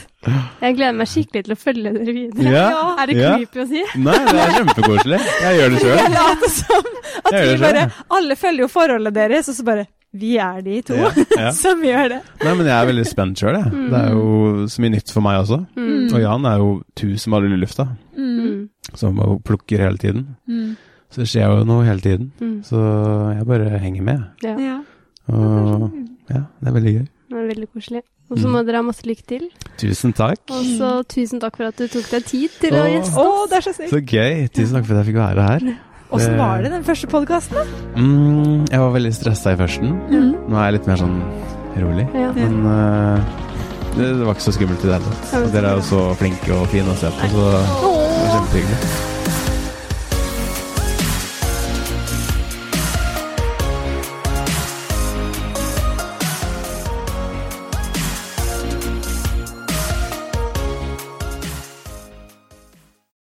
[SPEAKER 2] Jeg gleder meg skikkelig til å følge dere videre.
[SPEAKER 1] Ja.
[SPEAKER 2] Er det
[SPEAKER 3] [LAUGHS] Ja.
[SPEAKER 2] creepy å si?
[SPEAKER 3] Nei, det er kjempekoselig. Jeg gjør
[SPEAKER 1] [LAUGHS] Jeg
[SPEAKER 3] det sjøl.
[SPEAKER 1] later som at
[SPEAKER 3] Jeg gjør
[SPEAKER 1] vi
[SPEAKER 3] det
[SPEAKER 1] bare
[SPEAKER 3] selv.
[SPEAKER 1] Alle følger jo forholdet deres, og så bare Vi er de to
[SPEAKER 3] Ja,
[SPEAKER 1] [LAUGHS]
[SPEAKER 3] ja.
[SPEAKER 1] som gjør det.
[SPEAKER 3] Nei, men jeg er veldig spent sjøl, jeg. Det er jo så mye nytt for meg også.
[SPEAKER 2] Mm.
[SPEAKER 3] Og Jan er jo tusen baller i lufta,
[SPEAKER 1] Mm.
[SPEAKER 2] Mm.
[SPEAKER 3] som han plukker hele tiden.
[SPEAKER 1] Mm.
[SPEAKER 3] Så det skjer jo noe hele tiden.
[SPEAKER 2] Mm.
[SPEAKER 3] Så jeg bare henger med.
[SPEAKER 2] Ja.
[SPEAKER 1] Ja.
[SPEAKER 3] Og ja, det er veldig gøy.
[SPEAKER 2] Det er veldig koselig. Og
[SPEAKER 3] Mm.
[SPEAKER 2] så må dere ha masse lykke til.
[SPEAKER 3] Tusen takk.
[SPEAKER 2] Og så tusen takk for at du tok deg tid til å
[SPEAKER 3] Åh.
[SPEAKER 2] gjeste.
[SPEAKER 1] Å, det er så snilt.
[SPEAKER 3] Så gøy. Tusen takk for at jeg fikk være her.
[SPEAKER 1] Åssen var det den første podkasten, da?
[SPEAKER 3] Mm, jeg var veldig stressa i førsten.
[SPEAKER 1] Mhm.
[SPEAKER 3] Nå er jeg litt mer sånn rolig.
[SPEAKER 2] Ja.
[SPEAKER 3] Men eh, det, det var ikke så skummelt i det hele tatt. Og Dere er jo så flinke og fine å se på, så det var kjempehyggelig.